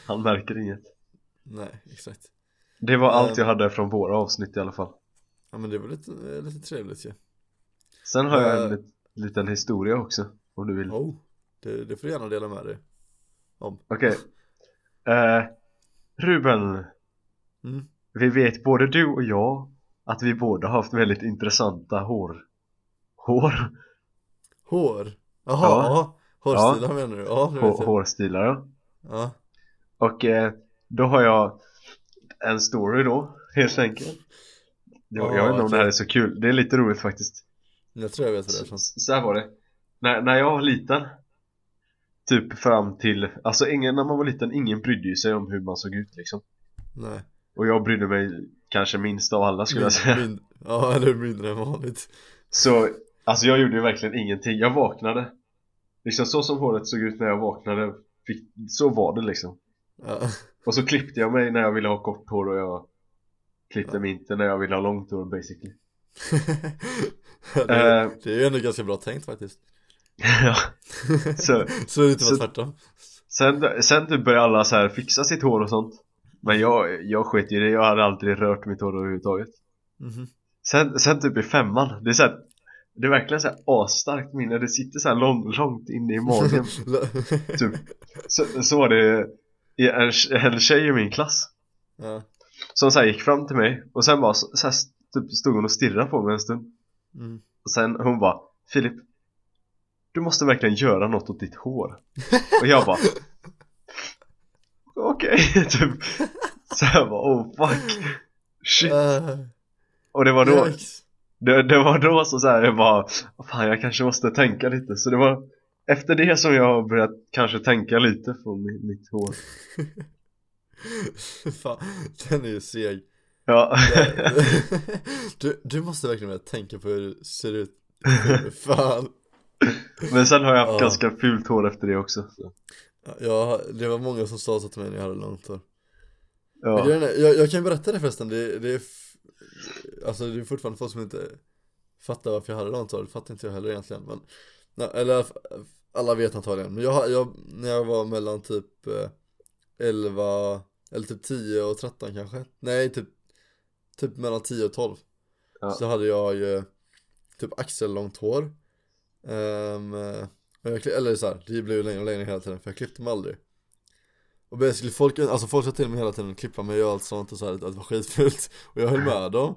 Speaker 3: Han märker inget
Speaker 2: Nej, exakt
Speaker 3: Det var allt
Speaker 2: Eh.
Speaker 3: jag hade från våra avsnitt i alla fall
Speaker 2: Ja men det var lite, eh, lite trevligt ju
Speaker 3: Sen har jag en
Speaker 2: Eh.
Speaker 3: lit- liten historia också om du vill Okej,
Speaker 2: Oh, det, det får du gärna dela med dig om
Speaker 3: Eh, Ruben
Speaker 2: mm.
Speaker 3: Vi vet både du och jag att vi båda har haft väldigt intressanta hår Hår?
Speaker 2: Hår? Jaha,
Speaker 3: Ja.
Speaker 2: ja. hårstilar menar du? Ja, nu vet
Speaker 3: Hår-
Speaker 2: jag
Speaker 3: Hårstilar ja
Speaker 2: Ja,
Speaker 3: Och eh, då har jag en story då, helt enkelt. Det var,
Speaker 2: Ja,
Speaker 3: jag vet inte om det här
Speaker 2: okej.
Speaker 3: är så kul, det är lite roligt faktiskt.
Speaker 2: jag tror jag vet vad det är
Speaker 3: Så,
Speaker 2: från
Speaker 3: så här var det. När, när jag var liten, typ fram till, alltså ingen, när man var liten, ingen brydde ju sig om hur man såg ut liksom.
Speaker 2: Nej
Speaker 3: Och jag brydde mig kanske minst av alla skulle jag
Speaker 2: Min-
Speaker 3: säga.
Speaker 2: min- ja, eller mindre än vanligt.
Speaker 3: Så, alltså jag gjorde ju verkligen ingenting. Jag vaknade. Liksom så som håret såg ut när jag vaknade, fick, så var det liksom.
Speaker 2: Ja.
Speaker 3: Och så klippte jag mig när jag ville ha kort hår och jag klippte mig inte när jag ville ha långt hår basically
Speaker 2: Ja, det, är-
Speaker 3: Eh.
Speaker 2: det är ju ändå ganska bra tänkt faktiskt
Speaker 3: Ja. så,
Speaker 2: Så det inte
Speaker 3: Så-
Speaker 2: var tvärtom
Speaker 3: sen, sen typ började alla så här fixa sitt hår och sånt Men jag, jag sket i det, jag hade aldrig rört mitt hår överhuvudtaget
Speaker 2: Mhm.
Speaker 3: Sen, sen typ i femman, det är så här, Det är verkligen så här asstarkt minne, det sitter så här lång, långt inne i magen typ. så, så var det en, en tjej i min klass
Speaker 2: ja.
Speaker 3: Som så här gick fram till mig och sen bara så, så här, typ stod hon och stirrade på mig en stund
Speaker 2: mm.
Speaker 3: Och sen hon bara Filip Du måste verkligen göra något åt ditt hår Och jag bara Okej, typ Så jag bara oh fuck Shit
Speaker 2: Eh,
Speaker 3: Och det var då
Speaker 2: yikes.
Speaker 3: det, det var då så, så här, jag bara Fan jag kanske måste tänka lite Så det var efter det som jag har börjat kanske tänka lite på mi- mitt hår
Speaker 2: Fan, den är ju seg
Speaker 3: Ja,
Speaker 2: du, du måste verkligen börja tänka på hur du ser ut Fan
Speaker 3: men sen har jag haft
Speaker 2: Ja.
Speaker 3: ganska fult hår efter det också så.
Speaker 2: Ja, det var många som sa så till mig när jag hade långt hår Men
Speaker 3: Ja,
Speaker 2: grejen är, jag, jag kan berätta det förresten, det, det är f- Alltså det är fortfarande folk som inte fattar varför jag hade långt hår, det fattar inte jag heller egentligen men nej, Eller f- alla vet antagligen, men jag, jag, när jag var mellan typ eh, 11 eller typ 10 och 13 kanske Nej typ, typ mellan 10 och 12
Speaker 3: Ja.
Speaker 2: Så hade jag ju typ axellångt hår Ehm, eh, och jag, kli- Eller så här, det blev ju längre och längre hela tiden för jag klippte mig aldrig och basically folk, alltså folk sa till mig hela tiden att klippa mig och allt sånt och så här, att det var skitfult Och jag höll med dem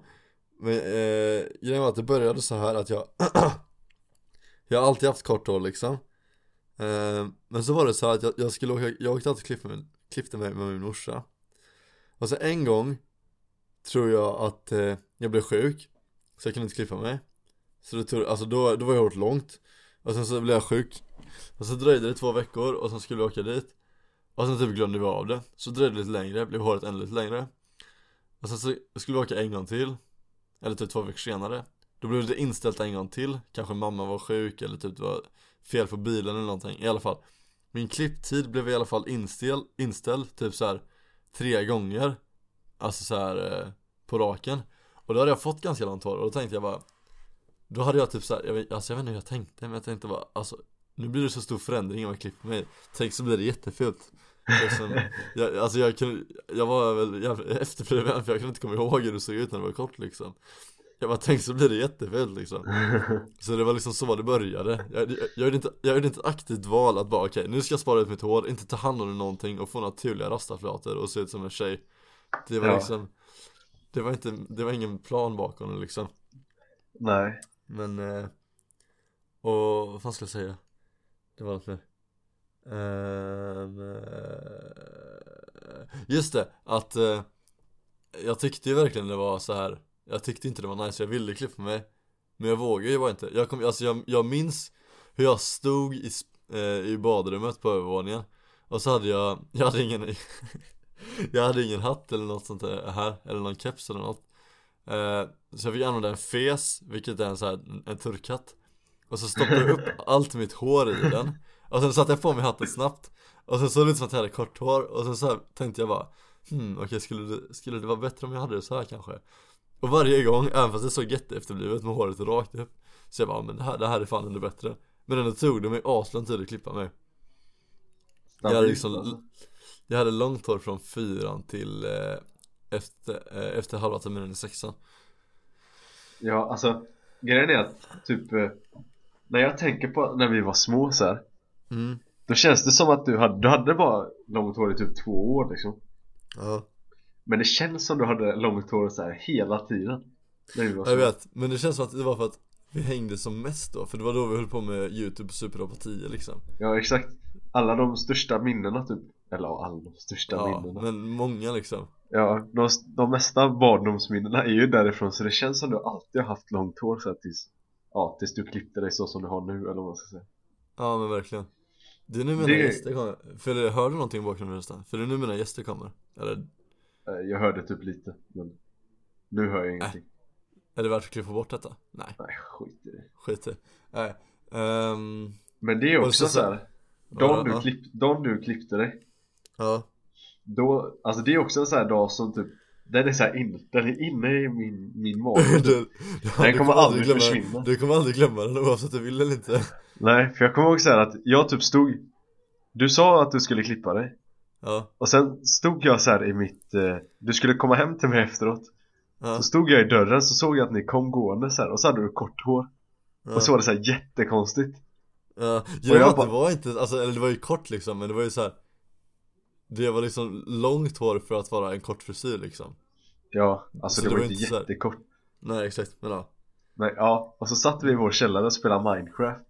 Speaker 2: Men eh, grejen var att det började så här att jag Jag har alltid haft kort hår liksom eh, Men så var det så här att jag, jag skulle åka, jag åkte alltid och klippte mig, klippte mig med min morsa Och så en gång Tror jag att eh, jag blev sjuk Så jag kunde inte klippa mig Så det tog, alltså då, då var jag hårt långt Och sen så blev jag sjuk Och så dröjde det två veckor och sen skulle jag åka dit och sen typ glömde vi av det Så dröjde det lite längre, blev håret ännu lite längre Och sen så skulle vi åka en gång till Eller typ två veckor senare Då blev det inställt en gång till Kanske mamma var sjuk eller typ det var fel på bilen eller någonting I alla fall Min klipptid blev i alla fall inställ, inställd typ så här Tre gånger Alltså så här eh, på raken Och då hade jag fått ganska långt hår och då tänkte jag bara Då hade jag typ så här, jag vet, alltså jag vet inte hur jag tänkte men jag tänkte bara alltså Nu blir det så stor förändring om jag klipper mig Tänk så blir det jättefult och sen, jag, alltså jag, kunde, jag var väl jävligt efterbliven för jag kunde inte komma ihåg hur det såg ut när det var kort liksom Jag bara tänkte så blir det jättefult liksom Så det var liksom så det började Jag, jag, jag, gjorde, inte, jag gjorde inte ett aktivt val att bara okej nu ska jag spara ut mitt hår, inte ta hand om det någonting och få naturliga rastaflator och se ut som en tjej Det var
Speaker 3: Ja.
Speaker 2: liksom Det var inte, det var ingen plan bakom det liksom
Speaker 3: nej
Speaker 2: men, eh, och vad fan ska jag säga? Det var något mer Ehm, eh, Just det, att eh, jag tyckte ju verkligen det var så här. Jag tyckte inte det var nice, jag ville klippa mig Men jag vågade ju bara inte Jag, kom, alltså jag, jag minns hur jag stod i, sp- eh, i badrummet på övervåningen Och så hade jag, jag hade ingen Jag hade ingen hatt eller något sånt där här, eller någon keps eller något Eh, Så jag fick använda en fes, vilket är en, så här, en turkhatt Och så stoppade jag upp allt mitt hår i den Och sen satte jag på mig hatten snabbt Och sen såg det ut som att jag hade kort hår Och sen så här tänkte jag bara Hmm, okej skulle, det, skulle det vara bättre om jag hade det så här kanske? Och varje gång, även fast det såg jätteefterblivet med håret rakt upp Så jag bara, men det här, det här är fan ändå bättre Men ändå tog det mig aslång tid att klippa mig Jag hade liksom Jag hade långt hår från fyran till eh, efter, eh, efter halva terminen i sexan
Speaker 3: Ja, alltså grejen är att typ eh, när jag tänker på när vi var små så här,
Speaker 2: Mm,
Speaker 3: då känns det som att du hade, du hade bara långt hår i typ två år liksom.
Speaker 2: ja
Speaker 3: Men det känns som du hade långt hår så här hela tiden. När vi var små.
Speaker 2: Jag vet, men det känns som att det var för att vi hängde som mest då För det var då vi höll på med youtube superapatier liksom
Speaker 3: Ja, exakt. Alla de största minnena typ. Eller ja, alla de största
Speaker 2: Ja,
Speaker 3: minnena.
Speaker 2: men många liksom
Speaker 3: Ja, de, de mesta barndomsminnena är ju därifrån så det känns som du alltid har haft långt hår så här, tills, ja, tills du klippte dig så som du har nu eller vad man ska säga.
Speaker 2: Ja men verkligen Det är nu mina
Speaker 3: Det-
Speaker 2: gäster kommer, för det, hör du någonting i bakgrunden förresten? För det är nu mina gäster kommer Eller
Speaker 3: Eh, Jag hörde typ lite, men nu hör jag ingenting.
Speaker 2: Äh. är det värt att klippa bort detta? Nej,
Speaker 3: Nej, skit i det.
Speaker 2: skit i Nej um,
Speaker 3: Men det är
Speaker 2: Och
Speaker 3: också
Speaker 2: så-
Speaker 3: så här.
Speaker 2: ja,
Speaker 3: Dagen du,
Speaker 2: ja.
Speaker 3: klipp, dagen du klippte dig
Speaker 2: Ja,
Speaker 3: då, Alltså det är också en sån här dag som typ Den är så här in, den är inne i min, min mage
Speaker 2: Du, du,
Speaker 3: Den kommer aldrig
Speaker 2: glömma,
Speaker 3: försvinna.
Speaker 2: Du kommer aldrig glömma den oavsett du vill eller inte
Speaker 3: Nej, för jag kommer ihåg så här att jag typ stod Du sa att du skulle klippa dig
Speaker 2: Ja,
Speaker 3: Och sen stod jag så här i mitt eh, Du skulle komma hem till mig efteråt
Speaker 2: ja,
Speaker 3: Så stod jag i dörren så såg jag att ni kom gående så här Och så hade du kort hår
Speaker 2: ja.
Speaker 3: Och så var det så här jättekonstigt
Speaker 2: Ja,
Speaker 3: Och
Speaker 2: jag
Speaker 3: jag
Speaker 2: att
Speaker 3: bara-
Speaker 2: det var inte, alltså, eller det var ju kort liksom men det var ju så här. Det var liksom långt hår för att vara en kort frisyr liksom
Speaker 3: Ja, alltså
Speaker 2: Så
Speaker 3: det,
Speaker 2: det
Speaker 3: var
Speaker 2: var
Speaker 3: inte
Speaker 2: inte så här-
Speaker 3: jättekort
Speaker 2: Nej exakt, men ja
Speaker 3: Men ja, och så satt vi i vår källare och spelade Minecraft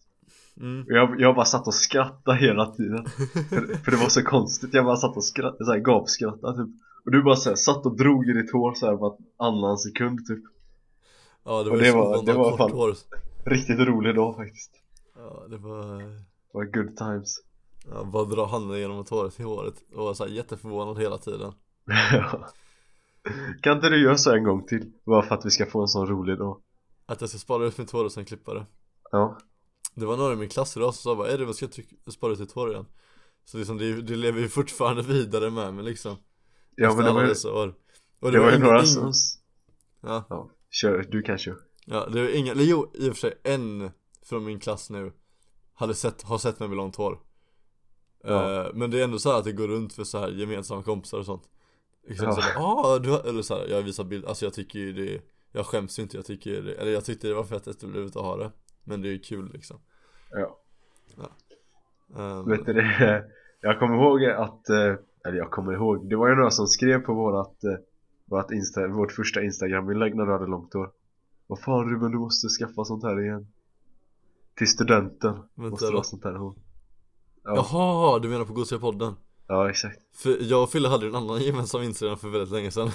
Speaker 2: mm.
Speaker 3: Och jag, jag bara satt och skrattade hela tiden för, för det var så konstigt, jag bara satt och skrattade, så här gapskrattade typ Och du bara så här, satt och drog i ditt hår så här varannan sekund typ
Speaker 2: Ja det
Speaker 3: Och
Speaker 2: var
Speaker 3: det
Speaker 2: ju
Speaker 3: var-
Speaker 2: spontant
Speaker 3: det var
Speaker 2: kort
Speaker 3: fan-
Speaker 2: hår
Speaker 3: Riktigt rolig dag faktiskt
Speaker 2: Ja det var,
Speaker 3: Det var good times
Speaker 2: ja, bara dra handen genom att håret i håret och var så här jätteförvånad hela tiden
Speaker 3: Ja. Kan inte du göra så en gång till? Bara för att vi ska få en sån rolig dag
Speaker 2: Att jag ska spara ut mitt hår och sen klippa det
Speaker 3: Ja,
Speaker 2: Det var någon i min klass idag som sa bara, är det vad ska jag tryck- spara ut ditt hår igen? Så liksom, det, det lever ju fortfarande vidare med mig liksom
Speaker 3: ja men det var, ju,
Speaker 2: dessa år Och
Speaker 3: alltså, det var ju
Speaker 2: ingen-
Speaker 3: några
Speaker 2: ingen-
Speaker 3: som...
Speaker 2: Ja.
Speaker 3: ja Kör, du kan köra
Speaker 2: Ja, det var inga, eller jo, i och för sig en från min klass nu hade sett, har sett mig med långt hår
Speaker 3: Ja.
Speaker 2: Eh, Men det är ändå så här att det går runt för så här gemensamma kompisar och sånt Liksom
Speaker 3: Ja.
Speaker 2: så här, ah, du har, eller så här, jag visar bild, alltså jag tycker ju det Jag skäms ju inte, jag tycker det, eller jag tyckte det var fett efterblivet att ha det Men det är ju kul liksom
Speaker 3: Ja
Speaker 2: Ehm,
Speaker 3: Vet du det? Jag kommer ihåg att, eh, eller jag kommer ihåg, det var ju några som skrev på vårat, eh, vårat Insta, vårt första Instagram-inlägg när du hade långt hår Vad fan Ruben, du måste skaffa sånt här igen Till studenten måste
Speaker 2: Vänta
Speaker 3: du
Speaker 2: då
Speaker 3: ha sånt här hår Ja,
Speaker 2: Jaha, du menar på Gosiga podden?
Speaker 3: ja exakt
Speaker 2: För jag och Fille hade ju en annan gemensam Instagram för väldigt länge sedan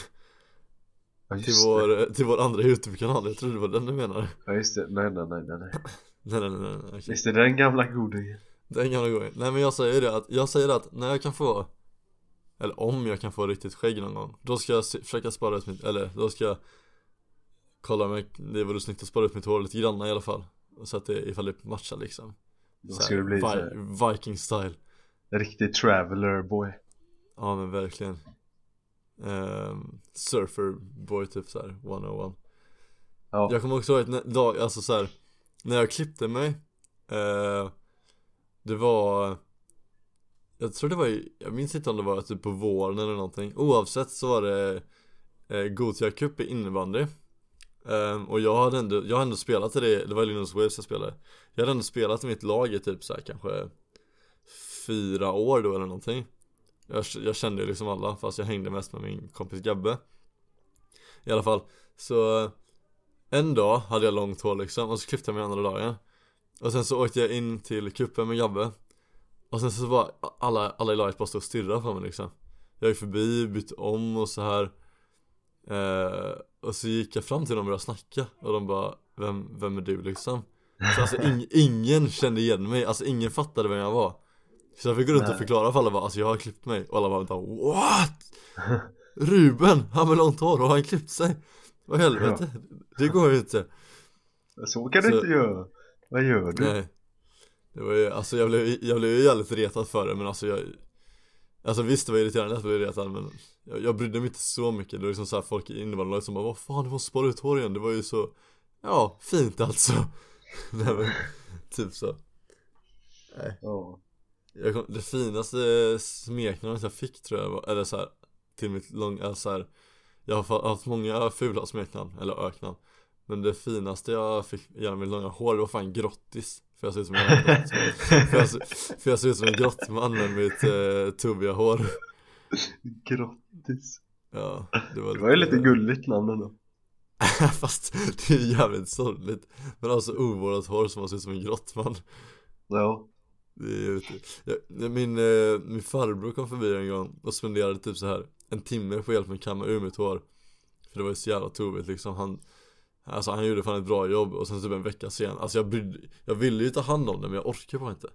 Speaker 3: ja,
Speaker 2: Till
Speaker 3: just det.
Speaker 2: vår, till vår andra YouTube-kanal, jag trodde det var den du menade
Speaker 3: ja just det, nej nej nej nej nej
Speaker 2: Nej nej nej, nej okej.
Speaker 3: Visst är det den gamla godingen?
Speaker 2: Den gamla gången. Nej men jag säger det att, jag säger det att när jag kan få Eller om jag kan få riktigt skägg någon gång Då ska jag se, försöka spara ut mitt, eller då ska jag Kolla om jag, det vore snyggt att spara ut mitt hår lite grann i alla fall Och Så att det, ifall det matchar liksom
Speaker 3: Då
Speaker 2: Så
Speaker 3: ska
Speaker 2: här,
Speaker 3: det bli
Speaker 2: vi-
Speaker 3: såhär,
Speaker 2: Viking style
Speaker 3: riktig traveler boy
Speaker 2: Ja men verkligen Ehm, Surfer boy typ såhär 101
Speaker 3: Ja,
Speaker 2: Jag kommer också ihåg att nä- dag, alltså så här, när jag klippte mig eh, Det var Jag tror det var, i- jag minns inte om det var typ på våren eller någonting Oavsett så var det eh, Gothia Cup i innebandy Ehm, Och jag hade ändå, jag hade ändå spelat i det, det var i Linus Waves jag spelade Jag hade ändå spelat i mitt lag i typ så här kanske Fyra år då eller någonting jag, jag kände ju liksom alla fast jag hängde mest med min kompis Gabbe I alla fall Så en dag hade jag långt hår liksom och så klippte jag mig andra dagen Och sen så åkte jag in till kuppen med Gabbe Och sen så var alla, alla i laget bara stod och stirrade på mig liksom Jag gick förbi, bytte om och så här eh, Och så gick jag fram till dem och började snacka Och de bara Vem, vem är du liksom? Så alltså ing, ingen kände igen mig, alltså ingen fattade vem jag var Så jag fick gå runt
Speaker 3: Nej.
Speaker 2: och förklara för alla bara, alltså jag har klippt mig Och alla bara vänta, what? Ruben, han med långt hår, har han klippt sig? Vad i helvete? Det går ju inte
Speaker 3: så kan du
Speaker 2: så-
Speaker 3: inte göra Vad gör du?
Speaker 2: Nej Det var ju, alltså jag blev, jag blev ju jävligt retad för det men alltså jag Alltså visst det var irriterande att bli retad men jag, jag brydde mig inte så mycket, det var liksom såhär folk i innebandylaget som bara Vad fan du måste spara ut hår igen, det var ju så Ja, fint alltså Nej men, typ så
Speaker 3: Ja,
Speaker 2: jag kom, Det finaste smeknamnet jag fick tror jag var, eller såhär Till mitt långa, såhär Jag har fa- haft många fula smeknamn, eller öknamn Men det finaste jag fick genom mitt långa hår, det var fan grottis För jag ser ut som en jävla grott. För jag, ser- för jag ser ut som en grottman med mitt eh, tubbiga hår
Speaker 3: Grattis
Speaker 2: Ja, det var,
Speaker 3: Det var ju lite gulligt namn ändå
Speaker 2: Fast det är jävligt sorgligt Men alltså ovårdat hår som man ser ut som en grottman
Speaker 3: Ja,
Speaker 2: Det är ju inte- jag, min, eh, min farbror kom förbi en gång och spenderade typ så här en timme på att hjälpa mig kamma ur mitt hår För det var ju så jävla tovigt liksom han Alltså han gjorde fan ett bra jobb och sen typ en vecka sen Alltså jag brydde, jag ville ju ta hand om det men jag orkade bara inte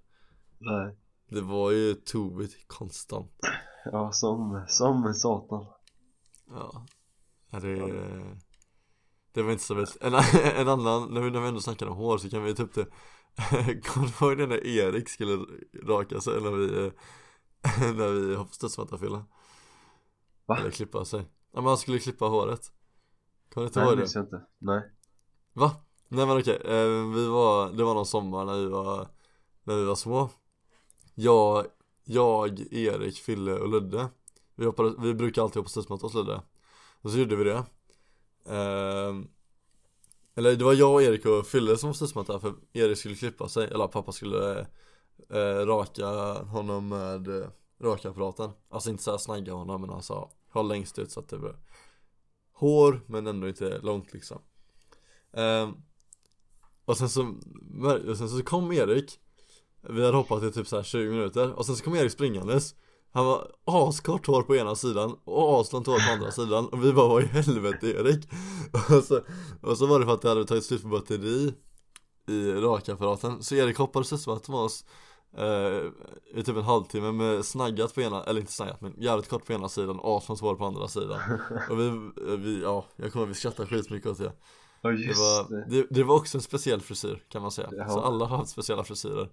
Speaker 3: nej
Speaker 2: Det var ju tovigt konstant
Speaker 3: Ja, som, som satan.
Speaker 2: Ja Ja, det, det var inte så bäst en, en annan, när vi, när vi ändå snackar om hår så kan vi ta upp det Kommer du ihåg det när Erik skulle raka sig när vi eh, När vi stötsmattarfylla?
Speaker 3: Va?
Speaker 2: Eller klippa sig Ja, man skulle klippa håret Kommer du inte
Speaker 3: Nej,
Speaker 2: ihåg
Speaker 3: det
Speaker 2: det?
Speaker 3: minns jag inte. Nej.
Speaker 2: Va? Nej men okej, eh, vi var, det var någon sommar när vi var, när vi var små Jag, jag, Erik, Fille och Ludde Vi, hoppade, vi brukar alltid hoppa studsmatta hos Ludde Och så gjorde vi det Ehm, Eller det var jag, och Erik och Fille som hoppade studsmatta för Erik skulle klippa sig, eller pappa skulle eh, raka honom med eh, rakapparaten Alltså inte såhär snagga honom men han sa Håll längst ut så att det blir hår men ändå inte långt liksom Ehm, och sen så, och sen så kom Erik Vi hade hoppat i typ så här 20 minuter och sen så kom Erik springandes Han var askort hår på ena sidan och aslångt hår på andra sidan och vi bara vad i helvete Erik? Och så, och så var det för att det hade tagit slut på batteri i rakapparaten så Erik hoppade studsmatta med oss eh, i typ en halvtimme med snaggat på ena, eller inte snaggat men jävligt kort på ena sidan och aslångt hår på andra sidan Och vi, vi ja, jag kommer att vi skrattar skitmycket åt det
Speaker 3: Ja
Speaker 2: det
Speaker 3: just
Speaker 2: var,
Speaker 3: det.
Speaker 2: det, det var också en speciell frisyr kan man säga.
Speaker 3: Ja.
Speaker 2: Så alla har haft speciella frisyrer.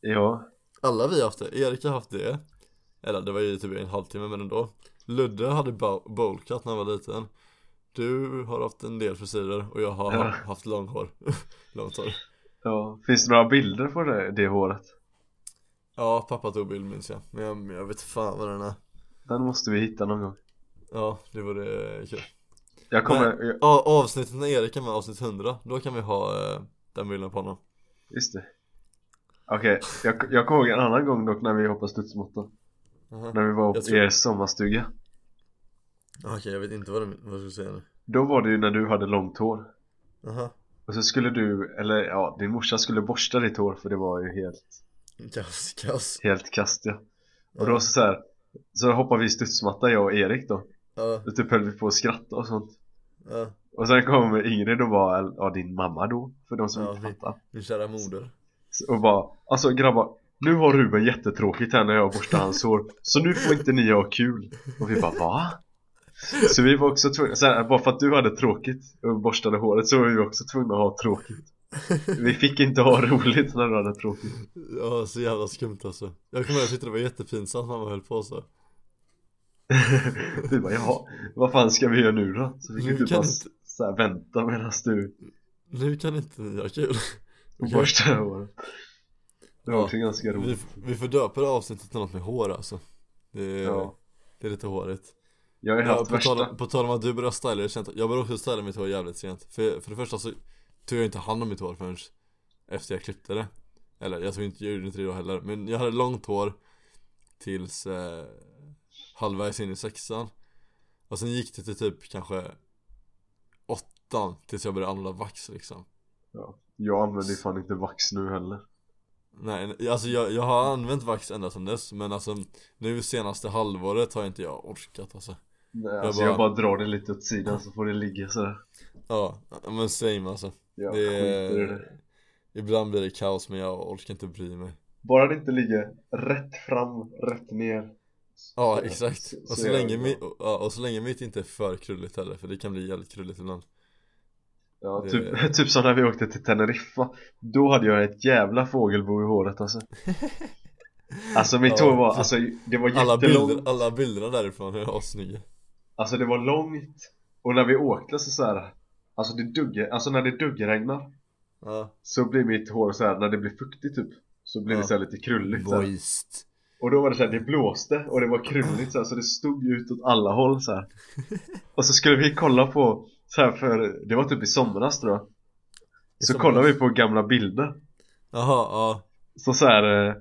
Speaker 3: Ja.
Speaker 2: Alla vi har haft det. Erik har haft det. Eller det var ju typ en halvtimme men ändå. Ludde hade bow- bowlcut när han var liten. Du har haft en del frisyrer och jag har
Speaker 3: Ja.
Speaker 2: haft långhår. Långt hår.
Speaker 3: ja. Finns det några bilder på det, det håret?
Speaker 2: Ja, pappa tog bild minns jag. Men jag, men jag vet fan vad den är.
Speaker 3: Den måste vi hitta någon gång.
Speaker 2: Ja, det vore eh, kul.
Speaker 3: Jag kommer, jag,
Speaker 2: Ja, avsnittet när Erik är med, avsnitt 100. Då kan vi ha eh, den bilden på honom.
Speaker 3: just det. Okej, jag, jag kommer ihåg en annan gång dock när vi hoppade studsmattan.
Speaker 2: Aha.
Speaker 3: När vi var
Speaker 2: Jag
Speaker 3: på
Speaker 2: tror-
Speaker 3: er sommarstuga.
Speaker 2: Okej, jag vet inte vad, det, vad jag skulle säga nu.
Speaker 3: Då var det ju när du hade långt hår.
Speaker 2: Aha.
Speaker 3: Och så skulle du, eller ja, din morsa skulle borsta ditt hår för det var ju helt,
Speaker 2: Kass, kass.
Speaker 3: helt kast ja. Och
Speaker 2: Ja.
Speaker 3: då så, så här, så hoppade vi studsmatta jag och Erik då.
Speaker 2: Ja,
Speaker 3: Och typ höll vi på att skratta och sånt.
Speaker 2: ja,
Speaker 3: Och sen kom Ingrid och var, eller, ja din mamma då, för de som
Speaker 2: Ja,
Speaker 3: inte
Speaker 2: vi-
Speaker 3: fattar.
Speaker 2: min kära moder.
Speaker 3: Så- Och bara, alltså grabbar, nu har Ruben jättetråkigt här när jag borstar hans hår. Så nu får inte ni ha kul. Och vi bara, va? Så vi var också tvungna, så här, bara för att du hade tråkigt och borstade håret så var vi också tvungna att ha tråkigt. Vi fick inte ha roligt när du hade tråkigt.
Speaker 2: Ja, så jävla skumt alltså. Jag kommer ihåg, jag tyckte det var jättepinsamt mamma höll på så.
Speaker 3: Vi bara jaha, vad fan ska vi göra nu då? Så fick
Speaker 2: Nu
Speaker 3: vi typ
Speaker 2: kan
Speaker 3: bara
Speaker 2: inte-
Speaker 3: så här vänta medan du
Speaker 2: Nu kan inte ni ha kul. Okej.
Speaker 3: borstar håret Det var
Speaker 2: Ja,
Speaker 3: också ganska
Speaker 2: Vi,
Speaker 3: roligt
Speaker 2: vi får döpa det här avsnittet till något med hår alltså. Det är,
Speaker 3: Ja.
Speaker 2: det är lite hårigt.
Speaker 3: Jag har ju
Speaker 2: Ja,
Speaker 3: haft
Speaker 2: på,
Speaker 3: värsta
Speaker 2: tal, på tal om att du började styla dig sent. Jag började också styla mitt hår jävligt sent. För, för det första så tog jag inte hand om mitt hår förrän efter jag klippte det. Eller jag, tog inte, jag gjorde inte det då heller. Men jag hade långt hår tills eh, halvvägs in i sexan. Och sen gick det till typ kanske åttan tills jag började använda vax liksom.
Speaker 3: Jag använder ju fan inte vax nu heller
Speaker 2: Nej, alltså jag, jag har använt vax ända sedan dess men alltså nu senaste halvåret har inte jag orkat alltså.
Speaker 3: Nej, alltså,
Speaker 2: bara-
Speaker 3: jag bara drar det lite åt sidan så får det ligga sådär
Speaker 2: Ja, men same alltså.
Speaker 3: Jag
Speaker 2: Det är-
Speaker 3: skiter i det
Speaker 2: Ibland blir det kaos men jag orkar inte bry mig.
Speaker 3: Bara det inte ligger rätt fram, rätt ner
Speaker 2: Ja
Speaker 3: Så-
Speaker 2: exakt,
Speaker 3: så-
Speaker 2: och
Speaker 3: så
Speaker 2: så,
Speaker 3: är
Speaker 2: länge
Speaker 3: det
Speaker 2: mi- ja, och så länge mitt inte är för krulligt heller för det kan bli jävligt krulligt ibland
Speaker 3: Ja,
Speaker 2: Det-
Speaker 3: typ, typ som när vi åkte till Teneriffa Då hade jag ett jävla fågelbo i håret alltså Alltså mitt
Speaker 2: Ja,
Speaker 3: hår var,
Speaker 2: så-
Speaker 3: alltså det var
Speaker 2: Alla,
Speaker 3: jättelångt
Speaker 2: bilder, alla bilderna därifrån är assnygga
Speaker 3: Alltså det var långt och när vi åkte så så här Alltså det dugger, alltså när det duggregnar
Speaker 2: Ja,
Speaker 3: så blir mitt hår så här när det blir fuktigt typ så blir det
Speaker 2: Ja.
Speaker 3: så här lite krulligt så här.
Speaker 2: moist
Speaker 3: Och då var det så här, det blåste och det var krulligt så här så det stod ju ut åt alla håll så här. Och så skulle vi kolla på så här för det var typ i somras tror jag.
Speaker 2: I
Speaker 3: Så
Speaker 2: somras?
Speaker 3: kollade vi på gamla bilder
Speaker 2: Jaha, ja,
Speaker 3: så så här eh,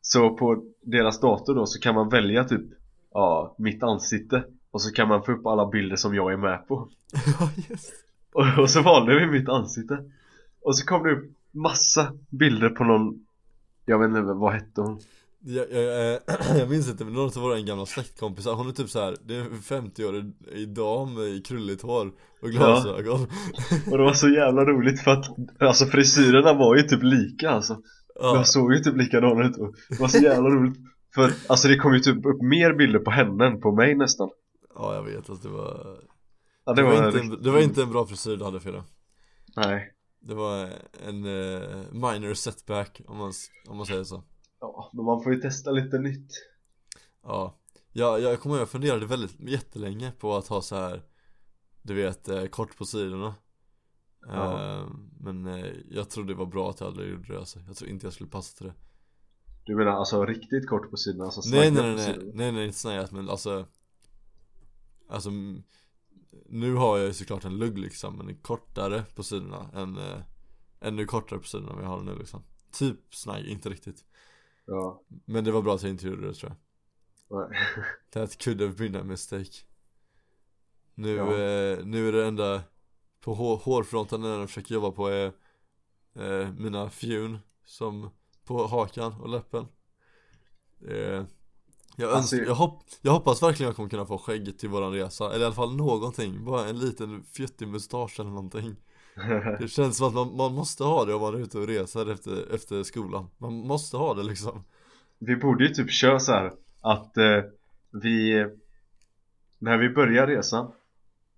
Speaker 3: så på deras dator då så kan man välja typ ja, mitt ansikte och så kan man få upp alla bilder som jag är med på.
Speaker 2: ja just
Speaker 3: Och, och så valde vi mitt ansikte Och så kom det upp massa bilder på någon Jag vet inte vad hette hon
Speaker 2: jag, jag, eh, jag minns inte men någon av våra gamla släktkompisar hon är typ så här, det är en 50-årig dam i krulligt hår och glasögon
Speaker 3: Och det var så jävla roligt för att Alltså frisyrerna var ju typ lika alltså
Speaker 2: Ja,
Speaker 3: De såg ju typ likadana ut och Det var så jävla roligt För alltså det kom ju typ upp mer bilder på henne än på mig nästan
Speaker 2: ja jag vet att det var
Speaker 3: ja,
Speaker 2: Det var, inte
Speaker 3: riktigt-
Speaker 2: en, det var inte en bra frisyr du hade Frida
Speaker 3: Nej
Speaker 2: Det var en eh, minor setback om man, s- om man säger så
Speaker 3: Ja, men man får ju testa lite nytt
Speaker 2: Ja Jag, jag kommer ihåg, jag funderade väldigt jättelänge på att ha så här Du vet, eh, kort på sidorna
Speaker 3: Ja.
Speaker 2: Eh, Men eh, jag tror det var bra att jag aldrig gjorde det alltså. Jag tror inte jag skulle passa till det
Speaker 3: Du menar alltså riktigt kort på sidorna? Alltså
Speaker 2: Nej nej
Speaker 3: snaggat
Speaker 2: nej,
Speaker 3: på
Speaker 2: nej
Speaker 3: sidorna?
Speaker 2: nej nej inte snajat men alltså Alltså mm, Nu har jag ju såklart en lugg liksom men den är kortare på sidorna än eh, Ännu kortare på sidorna än vad jag har nu liksom Typ snagg, inte riktigt
Speaker 3: Ja,
Speaker 2: Men det var bra att jag inte gjorde det tror jag
Speaker 3: nej.
Speaker 2: That could have been a mistake Nu,
Speaker 3: Ja.
Speaker 2: eh, nu är det enda På hår, hårfronten när jag försöker jobba på är eh, Mina fjun Som på hakan och läppen eh, jag,
Speaker 3: Alltså,
Speaker 2: önskar, jag, hopp, jag hoppas verkligen jag kommer kunna få skägg till våran resa Eller i alla fall någonting Bara en liten fjuttig mustasch eller någonting Det känns som att man, man måste ha det om man är ute och reser efter, efter skolan Man måste ha det liksom
Speaker 3: Vi borde ju typ köra så här att eh, vi När vi börjar resan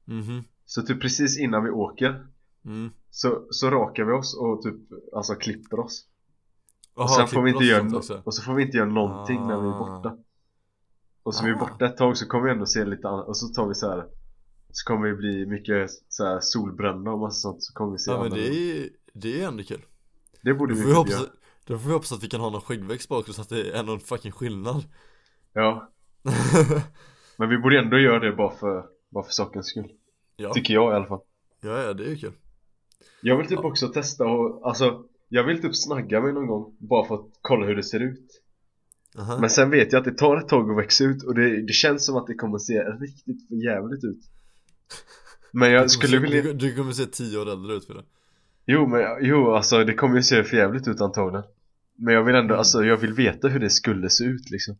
Speaker 2: Mhm,
Speaker 3: Så typ precis innan vi åker
Speaker 2: mm
Speaker 3: Så, så rakar vi oss och typ alltså klipper oss
Speaker 2: Aha,
Speaker 3: och, sen får vi
Speaker 2: klipper
Speaker 3: inte
Speaker 2: oss
Speaker 3: göra,
Speaker 2: sånt
Speaker 3: no-
Speaker 2: typ också.
Speaker 3: och så får vi inte göra någonting när vi är
Speaker 2: Ah.
Speaker 3: borta Och så är vi
Speaker 2: Ah.
Speaker 3: borta ett tag så kommer vi ändå se lite annat Och så tar vi så här Så kommer vi bli mycket så här solbrända och massa sånt så kommer vi se
Speaker 2: Ja men det
Speaker 3: annorlunda.
Speaker 2: är, det är ändå kul
Speaker 3: det borde
Speaker 2: Då
Speaker 3: vi
Speaker 2: får vi
Speaker 3: kunna
Speaker 2: hoppas,
Speaker 3: göra
Speaker 2: då får vi hoppas att vi kan ha någon skäggväxt bak så att det är någon fucking skillnad
Speaker 3: Ja, men vi borde ändå göra det bara för, bara för sakens skull
Speaker 2: ja.
Speaker 3: Tycker jag i alla fall
Speaker 2: ja, ja det är ju kul
Speaker 3: Jag vill typ
Speaker 2: Ja.
Speaker 3: också testa och, alltså Jag vill typ snagga mig någon gång bara för att kolla hur det ser ut
Speaker 2: Aha.
Speaker 3: Men sen vet jag att det tar ett tag att växa ut och det, det känns som att det kommer se riktigt för jävligt ut
Speaker 2: Du
Speaker 3: Men
Speaker 2: kommer
Speaker 3: jag skulle
Speaker 2: se,
Speaker 3: vilja
Speaker 2: du, du kommer se tio år äldre ut för det
Speaker 3: Jo men jag- jo alltså det kommer ju se för jävligt ut antagligen Men jag vill ändå,
Speaker 2: Mm.
Speaker 3: alltså jag vill veta hur det skulle se ut liksom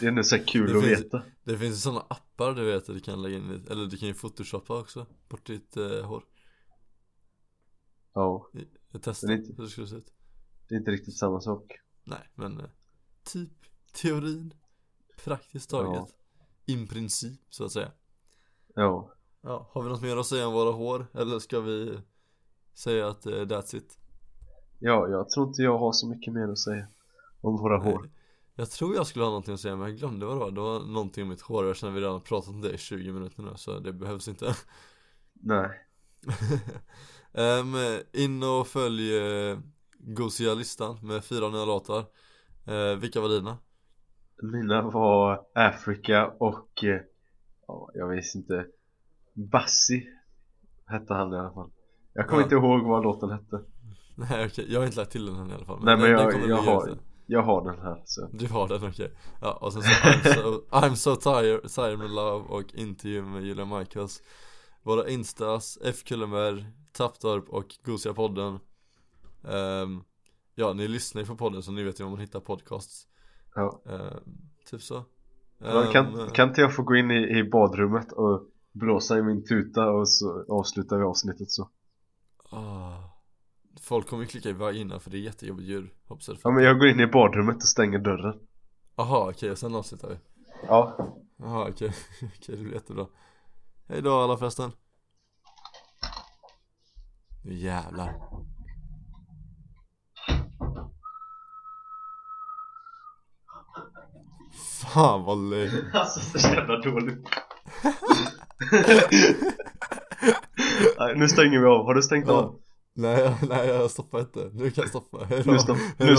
Speaker 3: Det är ändå så här kul
Speaker 2: Det
Speaker 3: att
Speaker 2: finns-
Speaker 3: veta
Speaker 2: Det finns ju sådana appar du vet, där du kan lägga in lite, eller du kan ju photoshoppa också bort ditt eh, hår
Speaker 3: Ja,
Speaker 2: Jag testade
Speaker 3: Men inte-
Speaker 2: hur det skulle se ut
Speaker 3: det är inte riktigt samma sak
Speaker 2: Nej men, eh, typ teorin Praktiskt taget In princip så att säga
Speaker 3: Ja,
Speaker 2: Ja, har vi något mer att säga om våra hår? Eller ska vi säga att eh, that's it?
Speaker 3: ja jag tror inte jag har så mycket mer att säga om våra hår
Speaker 2: Jag tror jag skulle ha någonting att säga men jag glömde vad det var Det var någonting om mitt hår och sen har vi redan pratat om det i 20 minuter nu så det behövs inte
Speaker 3: Nej
Speaker 2: Ehm, In och följ eh, Gosia-listan med fyra nya låtar Eh, Vilka var dina?
Speaker 3: Mina var Africa och, eh, ja, jag vet inte, Bassi hette han i alla fall. Jag kommer
Speaker 2: Ja.
Speaker 3: inte ihåg vad låten hette.
Speaker 2: Nej okej, jag har inte lagt till den än i alla fall
Speaker 3: Nej, men
Speaker 2: den- den
Speaker 3: jag-
Speaker 2: kommer
Speaker 3: jag
Speaker 2: ligga
Speaker 3: har-
Speaker 2: ute.
Speaker 3: Jag har den här så.
Speaker 2: Du har den okej Ja och sen så I'm so, I'm so tired, tired med love och intervju med Julia Michaels Våra instas, F Kullenberg, Tapptorp och Gosiga podden Ehm, Ja ni lyssnar ju på podden så ni vet ju om man hittar podcasts
Speaker 3: Ja.
Speaker 2: Ehm, Typ så
Speaker 3: Men Kan,
Speaker 2: Ehm,
Speaker 3: kan inte jag få gå in i, i badrummet och blåsa i min tuta och så avslutar vi avsnittet så.
Speaker 2: ah. Folk kommer ju klicka iväg innan för det är jättejobbigt ljud hoppas jag det
Speaker 3: Ja men jag går in i badrummet och stänger dörren.
Speaker 2: Aha okej och sen avslutar vi
Speaker 3: Ja.
Speaker 2: Jaha okej, okej det blir jättebra Hejdå alla förresten Nu jävlar Fan vad löjligt
Speaker 3: Alltså så jävla dåligt. Nej, nu stänger vi av. Har du stängt
Speaker 2: Ja.
Speaker 3: av?
Speaker 2: Nej, jag- nej jag stoppar inte, nu kan jag stoppa, hejdå
Speaker 3: Nu, stopp, nu
Speaker 2: Hejdå.